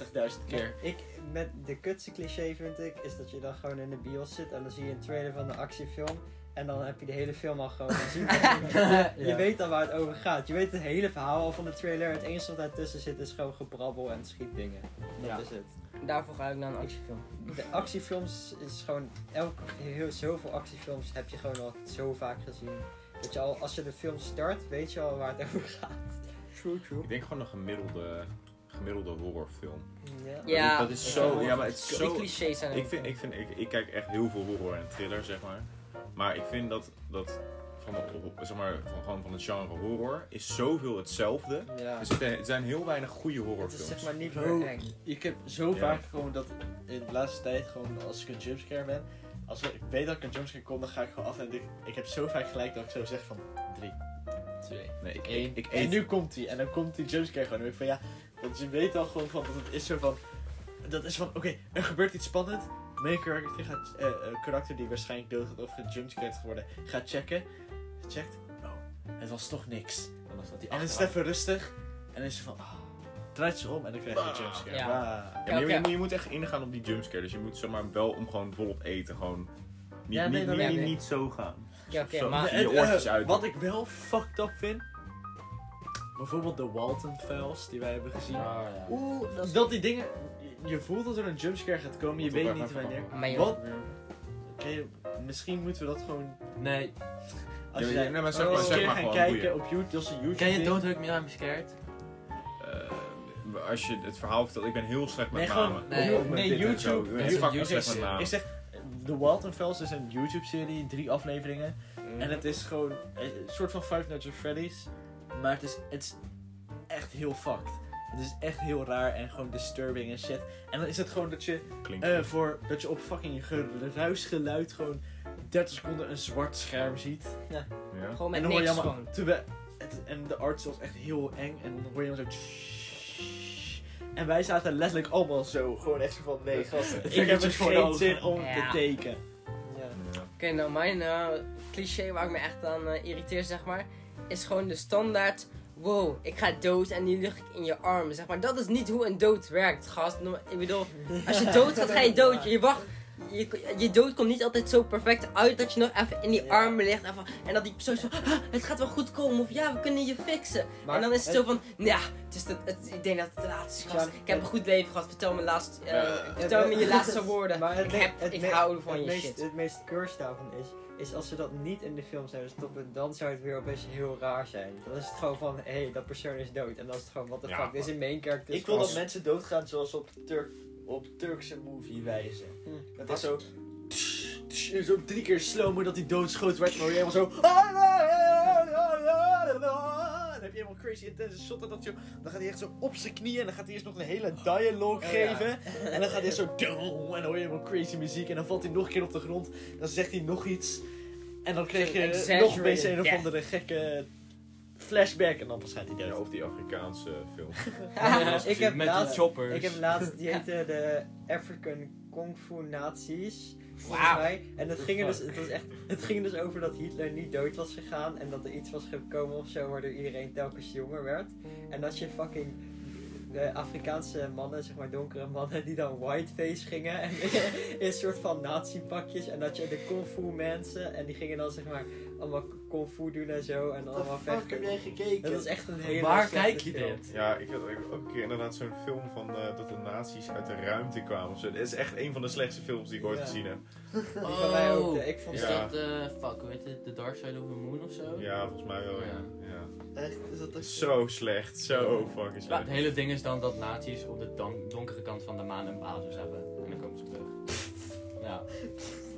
Speaker 1: keer.
Speaker 4: Ik, met de kutste cliché vind ik, is dat je dan gewoon in de bios zit en dan zie je een trailer van een actiefilm. En dan heb je de hele film al gewoon gezien. je, je weet al waar het over gaat. Je weet het hele verhaal al van de trailer. Het enige wat daartussen zit is gewoon gebrabbel en schietdingen. Dat
Speaker 2: Ja.
Speaker 4: is het.
Speaker 2: Daarvoor ga ik naar een actiefilm.
Speaker 4: De actiefilms is gewoon, elke, heel, zoveel actiefilms heb je gewoon al zo vaak gezien. Dat je al, als je de film start, weet je al waar het over gaat. True, true.
Speaker 5: Ik denk gewoon een gemiddelde, gemiddelde horrorfilm.
Speaker 4: Ja.
Speaker 2: Ja.
Speaker 5: Dat is zo...
Speaker 2: Ja.
Speaker 5: Ja, maar het is
Speaker 2: Die
Speaker 5: zo...
Speaker 2: clichés zijn er
Speaker 5: Ik,
Speaker 2: ook
Speaker 5: vind,
Speaker 2: wel.
Speaker 5: ik, vind, ik, ik kijk echt heel veel horror en thriller, zeg maar. Maar ik vind dat, dat van, de, zeg maar, van, gewoon van het genre horror is zoveel hetzelfde.
Speaker 4: Ja.
Speaker 5: Er zitten- er zijn heel weinig goede
Speaker 4: Het is
Speaker 5: horrorfilms.
Speaker 4: zeg maar niet
Speaker 1: Zo.
Speaker 4: meer eng.
Speaker 1: Ik heb zo
Speaker 5: Ja.
Speaker 1: vaak gewoon dat in de laatste tijd, gewoon als ik een jumpscare ben, als ik weet dat ik een jumpscare kom, dan ga ik gewoon af en ik, ik heb zo vaak gelijk dat ik zo zeg van 3, 2,
Speaker 5: Nee, ik,
Speaker 1: Eén.
Speaker 5: ik, ik
Speaker 1: En
Speaker 5: eet...
Speaker 1: nu komt hij. En dan komt die jumpscare gewoon. En ik van ja, want je weet al gewoon van dat het is zo van. Dat is van, oké, er gebeurt iets spannends. Mijn karakter gaat, eh, eh, karakter die waarschijnlijk dood gaat of gejumpscared gaat worden, gaat checken. Checkt. Oh, het was toch niks.
Speaker 3: Dan was dat die
Speaker 1: En het is
Speaker 3: achteraf.
Speaker 1: even rustig. En dan is ze van, ah, draait ze om en dan krijg
Speaker 5: Ah.
Speaker 1: je een jumpscare.
Speaker 2: Ja.
Speaker 1: Bah.
Speaker 5: Ja, maar
Speaker 2: Oké.
Speaker 5: je, moet- je moet echt ingaan op die jumpscare. Dus je moet zomaar wel om gewoon volop eten. Gewoon niet,
Speaker 1: Ja, nee,
Speaker 5: niet,
Speaker 1: dat
Speaker 5: niet,
Speaker 2: weet
Speaker 5: niet,
Speaker 2: ik.
Speaker 5: niet zo gaan.
Speaker 2: Ja, oké,
Speaker 5: Zo.
Speaker 2: maar...
Speaker 5: je
Speaker 1: En, eh,
Speaker 5: oortjes uit.
Speaker 1: Wat ik wel fucked up vind, bijvoorbeeld de Walton Files die wij hebben gezien.
Speaker 3: Ah, ja.
Speaker 1: Oeh, dat, die dingen. je- Je voelt dat er een jumpscare gaat komen, je
Speaker 5: Moet
Speaker 1: weet
Speaker 5: ook
Speaker 1: niet
Speaker 5: even
Speaker 1: wanneer.
Speaker 5: komen.
Speaker 2: Maar joh.
Speaker 1: Wat? Oké, misschien moeten we dat gewoon.
Speaker 3: Nee.
Speaker 1: Als
Speaker 5: Ja,
Speaker 1: je
Speaker 5: maar-
Speaker 1: daar
Speaker 5: nee, maar zeg,
Speaker 1: eens
Speaker 5: maar,
Speaker 1: een
Speaker 5: zeg
Speaker 1: keer
Speaker 5: maar
Speaker 1: gaan
Speaker 5: gewoon
Speaker 1: kijken
Speaker 5: boeien.
Speaker 1: op YouTube, dat is een YouTube.
Speaker 3: Ken je
Speaker 1: ding.
Speaker 3: Don't Hug Me, I'm Scared?
Speaker 5: Eh, als je het verhaal vertelt, ik ben heel slecht met
Speaker 1: Nee,
Speaker 5: namen.
Speaker 1: gewoon.
Speaker 3: Nee,
Speaker 1: Nee,
Speaker 5: Ook met dit en zo.
Speaker 1: YouTube.
Speaker 5: Ik ben
Speaker 3: is
Speaker 5: fucking
Speaker 3: YouTube.
Speaker 5: slecht met namen.
Speaker 1: Ik zeg, The Walton Files is een YouTube-serie, drie afleveringen. En het is gewoon eh, een soort van Five Nights at Freddy's. Maar het is, het is echt heel fucked. Het is echt heel raar en gewoon disturbing en shit. En dan is het gewoon dat je
Speaker 5: Klinkt.
Speaker 1: Eh, voor dat je op fucking geluid gewoon 30 seconden een zwart scherm ziet.
Speaker 5: ja.
Speaker 2: Gewoon
Speaker 1: en
Speaker 2: met
Speaker 1: dan hoor je
Speaker 2: niks
Speaker 1: allemaal.
Speaker 2: gewoon.
Speaker 1: terwijl- het- en de art was echt heel eng. En dan hoor je allemaal zo. tssss. En wij zaten letterlijk allemaal zo. Gewoon echt zo van nee, gast. Ik heb er
Speaker 3: Vingertjes voor de
Speaker 1: geen
Speaker 3: ogen.
Speaker 1: zin om
Speaker 2: Ja.
Speaker 1: te tekenen.
Speaker 4: Ja.
Speaker 5: Ja.
Speaker 2: Oké, nou mijn eh, cliché waar ik me echt aan eh, irriteer, zeg maar, is gewoon de standaard. Wow, ik ga dood en nu lig ik in je armen, zeg maar. Dat is niet hoe een dood werkt, gast. No- Ik bedoel, als je dood gaat, ga je dood. Je wacht. Je, je dood komt niet altijd zo perfect uit dat je nog even in die
Speaker 4: Ja.
Speaker 2: armen ligt. Even, en dat die persoon zo van, "Ah, het gaat wel goed komen. Of ja, we kunnen je fixen.
Speaker 4: Maar
Speaker 2: en dan is het
Speaker 4: het-
Speaker 2: zo van, nou ja, het is dat- het- ik denk dat het de laatste is, gast.
Speaker 4: Ja,
Speaker 2: Ik heb een goed leven gehad. Vertel me, laatst, eh,
Speaker 5: Eh,
Speaker 2: vertel me je laatste woorden.
Speaker 4: Maar het
Speaker 2: Ik,
Speaker 4: me-
Speaker 2: heb,
Speaker 4: het
Speaker 2: ik
Speaker 4: me-
Speaker 2: hou van
Speaker 4: het
Speaker 2: je
Speaker 4: meest,
Speaker 2: shit.
Speaker 4: Het meest curse daarvan is, is als ze dat niet in de film zouden stoppen, dan zou het weer opeens heel raar zijn. Dan is het gewoon van, hé, hey, dat persoon is dood. En dan is het gewoon, what the
Speaker 5: Ja,
Speaker 4: fuck, dit is een main character.
Speaker 1: Ik wil dat
Speaker 5: als-
Speaker 1: mensen doodgaan zoals op, Turk, op Turkse movie wijzen.
Speaker 4: Hm.
Speaker 1: Dat is zo. tss, tss, en Zo drie keer slow dat die doodschot werd. Maar helemaal zo. "Ah, Dan heb je helemaal crazy intense shot. En dat zo, dan gaat hij echt zo op zijn knieën. En dan gaat hij eerst nog een hele dialogue
Speaker 4: Oh, ja.
Speaker 1: geven. En dan gaat hij eerst zo. doem, En dan hoor je helemaal crazy muziek. En dan valt hij nog een keer op de grond. Dan zegt hij nog iets. En dan kreeg
Speaker 2: Zo'n
Speaker 1: je nog
Speaker 2: exaggerated
Speaker 1: opeens een of
Speaker 2: death.
Speaker 1: andere gekke flashback en dan was hij die
Speaker 5: Ja,
Speaker 1: dood.
Speaker 5: of die Afrikaanse film.
Speaker 4: Ik heb
Speaker 3: met
Speaker 4: laatst-
Speaker 3: die choppers.
Speaker 4: Ik heb laatst die heette de African Kung Fu Nazis. Volgens
Speaker 3: Wauw.
Speaker 4: mij. En het ging, er dus,
Speaker 3: fuck?
Speaker 4: het, was echt, het ging er dus over dat Hitler niet dood was gegaan. En dat er iets was gekomen of zo waardoor iedereen telkens jonger werd. En als je fucking de Afrikaanse mannen, zeg maar donkere mannen, die dan whiteface gingen. En in een soort van nazi-pakjes. En dat je de Kung Fu mensen. En die gingen dan zeg maar allemaal Kung Fu doen en zo. En allemaal vechten.
Speaker 1: gekeken?
Speaker 4: Oh, Dat was echt een hele
Speaker 3: Waar
Speaker 4: slechte
Speaker 3: kijk je
Speaker 4: film.
Speaker 3: dit?
Speaker 5: Ja, ik had ook ook een keer inderdaad zo'n film van eh, dat de nazi's uit de ruimte kwamen. of zo. Dit is echt een van de slechtste films die ik ooit
Speaker 4: Ja.
Speaker 5: gezien heb.
Speaker 3: Oh.
Speaker 4: Die van mij ook. eh, Ik vond
Speaker 3: Is
Speaker 5: Ja.
Speaker 3: dat, eh, fuck, hoe heet het? The Dark Side of the Moon of zo?
Speaker 5: Ja, volgens mij wel, ja. ja.
Speaker 6: Echt? Is dat echt
Speaker 5: Zo slecht, zo fucking
Speaker 3: Ja, Nou, het
Speaker 5: slecht.
Speaker 3: hele ding is dan dat nazi's op de don- donkere kant van de maan een basis hebben. En dan komen ze terug. Ja.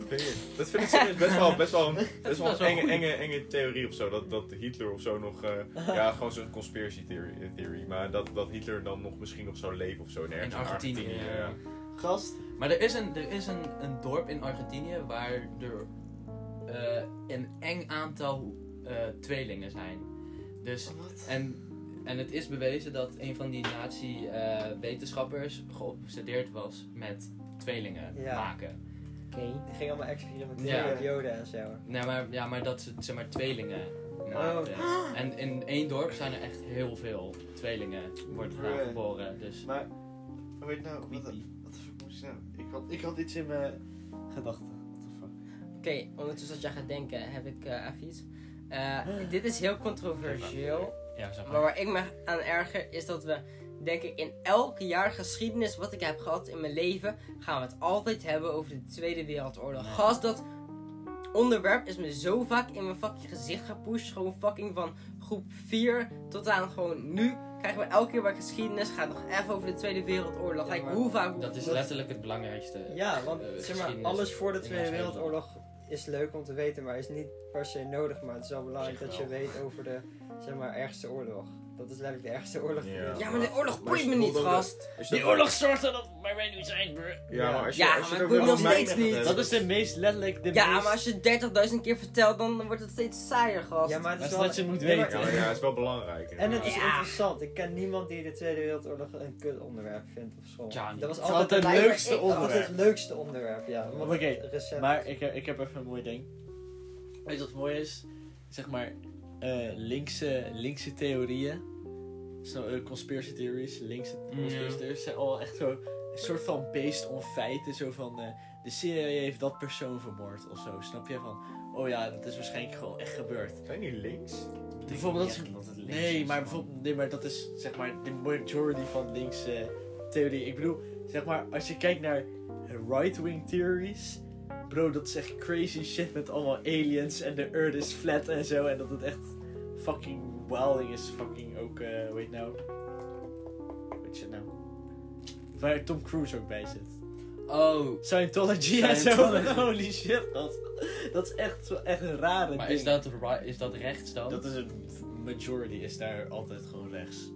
Speaker 5: Vind je- Dat vind ik serieus best wel, best wel een, best wel
Speaker 3: best
Speaker 5: een
Speaker 3: wel
Speaker 5: enge,
Speaker 3: goed.
Speaker 5: enge, enge theorie of zo. Dat, dat Hitler of zo nog... eh, ja, gewoon zo'n conspiracy theory, theory. Maar dat, dat Hitler dan nog misschien nog zou leven of zo. Nergens
Speaker 3: In Argentinië.
Speaker 5: ja.
Speaker 6: Gast?
Speaker 3: Maar er is, een, er is een, een dorp in Argentinië waar er eh, een eng aantal eh, tweelingen zijn. Dus
Speaker 6: Wat?
Speaker 3: En, en het is bewezen dat een van die nazi-wetenschappers geobsedeerd was met tweelingen
Speaker 4: Ja.
Speaker 3: maken.
Speaker 4: Die ging allemaal experimenteren
Speaker 3: Ja.
Speaker 4: met Joden en zo.
Speaker 3: Nee, maar, ja, maar dat ze zeg maar, tweelingen
Speaker 1: Oh,
Speaker 3: maakten. En in één dorp zijn er echt heel veel tweelingen, wordt er
Speaker 6: Bruh.
Speaker 3: geboren. Dus
Speaker 6: Maar, weet nou, wat, wat de fuck moest ik nou? Ik had, ik had iets in mijn gedachten. What the fuck?
Speaker 2: Oké, ondertussen dat jij gaat denken, heb ik eh even iets. Eh, dit is heel controversieel.
Speaker 3: ja, zeg
Speaker 2: Maar
Speaker 3: maar.
Speaker 2: waar ik me aan erger is dat we, denk ik, in elk jaar geschiedenis wat ik heb gehad in mijn leven, gaan we het altijd hebben over de Tweede Wereldoorlog.
Speaker 3: Nee.
Speaker 2: Gast, dat onderwerp is me zo vaak in mijn fucking gezicht gepusht. Gewoon fucking van groep 4 tot aan gewoon nu. Krijgen we elke keer bij geschiedenis, gaat nog even over de Tweede Wereldoorlog.
Speaker 4: Ja,
Speaker 2: Kijk,
Speaker 4: maar
Speaker 2: hoe vaak...
Speaker 3: Dat is
Speaker 4: dat-
Speaker 3: letterlijk het belangrijkste.
Speaker 4: Ja, want
Speaker 3: eh,
Speaker 4: zeg maar,
Speaker 3: geschiedenis
Speaker 4: alles voor de
Speaker 3: in
Speaker 4: Tweede
Speaker 3: ons leven.
Speaker 4: Wereldoorlog is leuk om te weten, maar is niet per se nodig. Maar het is wel belangrijk
Speaker 3: Zeg
Speaker 4: dat je
Speaker 3: wel.
Speaker 4: weet over de zeg maar, ergste oorlog. Dat is letterlijk de ergste oorlog. die er is.
Speaker 2: Ja, maar de oorlog boeit me
Speaker 5: je
Speaker 2: niet,
Speaker 5: bedoelt ook dat-
Speaker 2: gast.
Speaker 5: Als je
Speaker 1: Die
Speaker 5: dat-
Speaker 1: oorlog zorgt er dat wij nu zijn, bro.
Speaker 5: Ja, maar als je,
Speaker 2: Ja,
Speaker 5: als
Speaker 2: maar
Speaker 5: je het
Speaker 2: ik
Speaker 5: over
Speaker 2: wil nog
Speaker 5: de
Speaker 2: steeds
Speaker 5: mijnen
Speaker 2: niet.
Speaker 5: hebt,
Speaker 1: Dat is de meest letterlijk de
Speaker 2: Ja,
Speaker 1: meest...
Speaker 2: maar als je 30.000 keer vertelt, dan wordt het steeds saaier, gast.
Speaker 4: Ja, maar het
Speaker 1: Dat
Speaker 4: is
Speaker 1: is
Speaker 4: wel...
Speaker 1: wat je moet
Speaker 4: Ja, maar-
Speaker 5: Ja,
Speaker 1: weten.
Speaker 5: maar ja, het is wel belangrijk.
Speaker 4: En het is
Speaker 2: Ja.
Speaker 4: interessant. Ik ken niemand die de Tweede Wereldoorlog een kut onderwerp vindt op school.
Speaker 3: Ja, niet.
Speaker 4: dat was
Speaker 1: Het is
Speaker 4: altijd,
Speaker 1: altijd het
Speaker 4: het lijkt me-
Speaker 1: leukste
Speaker 4: ik- Altijd
Speaker 1: onderwerp.
Speaker 4: het leukste onderwerp, ja. Want
Speaker 1: Oké,
Speaker 4: het recent
Speaker 1: Maar ik heb, ik heb even een mooi ding. Weet je wat mooi is? Zeg maar, eh, linkse, linkse theorieën. Zo, eh, conspiracy theories, linkse conspiracy
Speaker 3: Ja.
Speaker 1: theories zijn al echt zo een soort van based on feiten. Zo van, eh, de CIA heeft dat persoon vermoord of zo. Snap je? Van, oh ja, dat is waarschijnlijk gewoon echt gebeurd.
Speaker 5: Zijn die links?
Speaker 1: Bijvoorbeeld dat is-
Speaker 3: Niet echt het links
Speaker 1: Nee,
Speaker 3: is,
Speaker 1: maar
Speaker 3: man.
Speaker 1: bijvoorbeeld, nee, maar dat is zeg maar de majority van linkse theorie. Ik bedoel, zeg maar, als je kijkt naar right-wing theories, bro, dat is echt crazy shit met allemaal aliens en de earth is flat en zo. En dat het echt fucking wilding is, fucking ook, eh weet nou, weet je nou, waar Tom Cruise ook bij zit.
Speaker 3: Oh,
Speaker 1: Scientology en zo,
Speaker 3: Scientology.
Speaker 1: holy shit, dat, dat is echt, zo- echt een rare
Speaker 3: maar
Speaker 1: ding.
Speaker 3: is dat, ri- is dat rechts dan?
Speaker 1: Dat is een majority, is daar altijd gewoon rechts.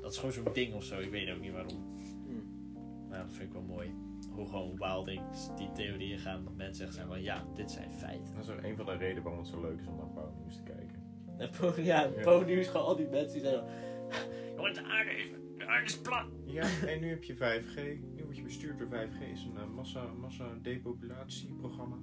Speaker 1: Dat is gewoon zo'n ding of zo, ik weet ook niet waarom. Hmm. Maar dat vind ik wel mooi. Hoe gewoon Wildings die theorieën gaan, dat mensen echt zijn van ja, dit zijn feiten.
Speaker 5: Dat is ook een van de redenen waarom het zo leuk is om naar Pauw Nieuws te kijken.
Speaker 1: En Po- ja,
Speaker 5: Ja.
Speaker 1: Po Nieuws, gewoon al die mensen die zeggen: Jongens, de aarde is, de aarde is plat.
Speaker 5: Ja, en nu heb je 5G. Nu word je bestuurd door 5G. is een eh, massa, massa depopulatieprogramma.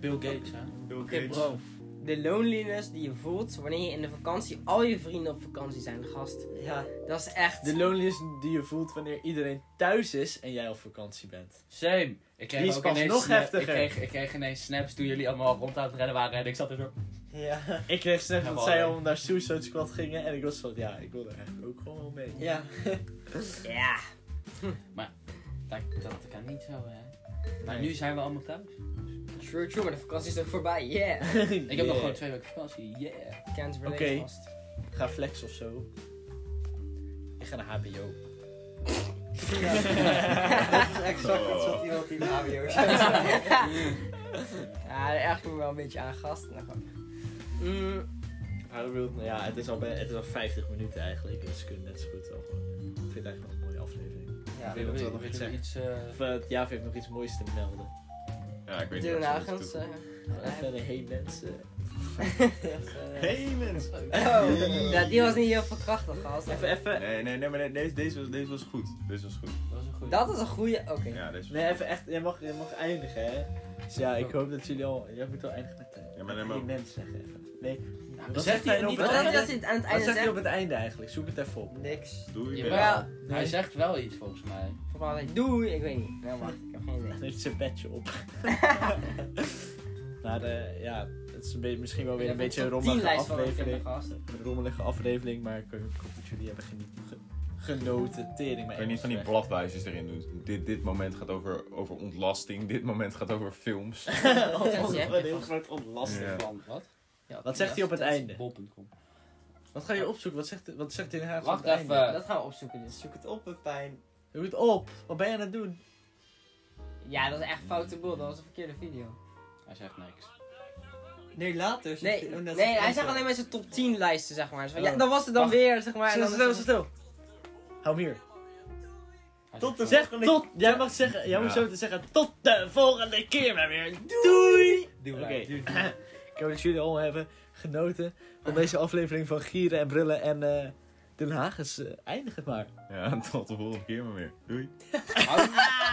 Speaker 3: Bill Gates, hè?
Speaker 5: Bill
Speaker 2: Oké,
Speaker 5: Gates.
Speaker 2: bro. De loneliness die je voelt wanneer je in de vakantie al je vrienden op vakantie zijn, gast.
Speaker 4: Ja,
Speaker 2: Dat is echt.
Speaker 1: De loneliness die je voelt wanneer iedereen thuis is en jij op vakantie bent.
Speaker 3: Same. Ik kreeg
Speaker 1: Die is
Speaker 3: ook
Speaker 1: pas
Speaker 3: ineens
Speaker 1: nog
Speaker 3: sna-
Speaker 1: heftiger.
Speaker 3: Ik kreeg, ik kreeg ineens snaps toen jullie allemaal rond aan het rennen waren en ik zat er zo.
Speaker 4: ja,
Speaker 1: Ik kreeg snaps
Speaker 3: Ja,
Speaker 1: dat
Speaker 3: wel,
Speaker 1: zij
Speaker 3: hè.
Speaker 1: al naar Suicide Squad gingen en ik was van ja, ik wil er eigenlijk ook gewoon wel mee.
Speaker 4: ja.
Speaker 2: Ja.
Speaker 3: Dat, dat kan niet zo, hè? Maar nu zijn we allemaal thuis.
Speaker 2: True, true, maar de vakantie is ook voorbij. Yeah.
Speaker 3: Ik heb nog gewoon twee weken vakantie, yeah.
Speaker 2: Can't relate,
Speaker 1: Oké.
Speaker 2: gast.
Speaker 1: Ga flex of zo. Ik ga naar HBO.
Speaker 4: dat is exact iets wat iemand die in de HBO zit.
Speaker 2: Ja, daar erg ik me wel een beetje aan, gast. Nou, gewoon. Mm,
Speaker 1: Maar ik bedoel, nou ja, het is, al bij, het is al 50 minuten eigenlijk, dus we kunnen net zo goed wel gewoon. eh, Ik vind het eigenlijk wel een mooie aflevering.
Speaker 4: Ja.
Speaker 1: weet niet of dat nog iets
Speaker 3: Willen we iets, eh,
Speaker 1: Of eh, Jaaf heeft nog iets moois te melden.
Speaker 5: Ja, ik weet
Speaker 2: Dylan
Speaker 5: niet. wat ze
Speaker 2: Hagens.
Speaker 5: moeten
Speaker 2: eh,
Speaker 4: Even een hey mensen.
Speaker 5: Hey mens!
Speaker 2: Oh, ja, die was niet heel verkrachtig, gast.
Speaker 1: Even, even,
Speaker 5: Nee, nee, nee, maar nee, deze, deze, was, deze was goed. Deze was goed.
Speaker 3: Dat was een goede.
Speaker 2: Dat is een goede. Oké.
Speaker 5: Ja, deze was
Speaker 1: nee, even echt, jij mag, jij mag eindigen, hè. Dus ja, ik hoop dat jullie al, jij moet al eindigen met, eh,
Speaker 5: Ja, maar
Speaker 1: met
Speaker 5: nee,
Speaker 1: hey
Speaker 5: maar-
Speaker 1: mens zeggen even. Nee,
Speaker 3: Nou, zegt hij
Speaker 1: op
Speaker 3: niet
Speaker 1: het
Speaker 2: Wat
Speaker 3: al?
Speaker 2: had je
Speaker 1: einde?
Speaker 2: dat hij aan het
Speaker 1: Wat
Speaker 2: einde
Speaker 1: zegt hij op
Speaker 2: zegt?
Speaker 1: het einde eigenlijk? Zoek het even op.
Speaker 2: Niks.
Speaker 5: Doei.
Speaker 3: Jawel.
Speaker 2: Ja.
Speaker 3: Hij zegt wel iets volgens mij.
Speaker 2: Vooral dat doei, ik weet niet. Nou, wacht, ik heb geen idee.
Speaker 1: Dan heeft zijn bedje op. maar eh, ja, het is een beetje- misschien wel weer een beetje een rommelige aflevering. Een rommelige aflevering, maar ik, ik hoop dat jullie hebben geniet, ge- genoten. Tering, maar
Speaker 5: Ik weet niet van die bladwijzers erin doen. Dit, dit moment gaat over, over ontlasting. Dit moment gaat over films.
Speaker 6: heel groot onlastig
Speaker 5: Ja.
Speaker 6: van.
Speaker 3: Wat? Ja,
Speaker 1: Wat zegt hij op het
Speaker 3: dat is
Speaker 1: einde?
Speaker 3: Bol.com.
Speaker 1: Wat ga je opzoeken? Wat zegt, wat zegt hij in haar
Speaker 3: Wacht
Speaker 1: op het
Speaker 3: even.
Speaker 1: einde?
Speaker 2: Dat gaan we opzoeken dus.
Speaker 4: Zoek het op, Pepijn.
Speaker 1: Doe het op. Wat ben je aan het doen?
Speaker 2: Ja, dat is echt foute boel. Dat was een verkeerde video.
Speaker 3: Hij zegt niks.
Speaker 4: Nee, later. zoek
Speaker 2: Nee,
Speaker 4: je- oh, omdat
Speaker 2: nee
Speaker 4: ze-
Speaker 2: hij zegt alleen maar zijn top 10 lijsten, zeg maar. Zo van,
Speaker 1: Oh.
Speaker 2: Ja, dat was het dan
Speaker 1: Wacht.
Speaker 2: weer, zeg maar. en
Speaker 1: Stil,
Speaker 2: dan
Speaker 1: stil,
Speaker 2: is het-
Speaker 1: stil. Hou hem hier.
Speaker 3: Hij
Speaker 6: Tot
Speaker 3: zegt
Speaker 6: de-
Speaker 1: Zeg
Speaker 6: volgende
Speaker 1: tot. Jij mag zeggen. Jij moet
Speaker 5: Ja.
Speaker 1: zo te zeggen. Tot de volgende keer maar weer. Doei.
Speaker 3: wel. Doe
Speaker 1: Oké.
Speaker 3: maar. Doe- doe.
Speaker 1: Ik hoop dat jullie al hebben genoten van deze aflevering van Gieren en Brullen en eh, Den Haag. Dus eh, eindig het maar.
Speaker 5: Ja, tot de volgende keer maar weer. Doei.
Speaker 3: Hou-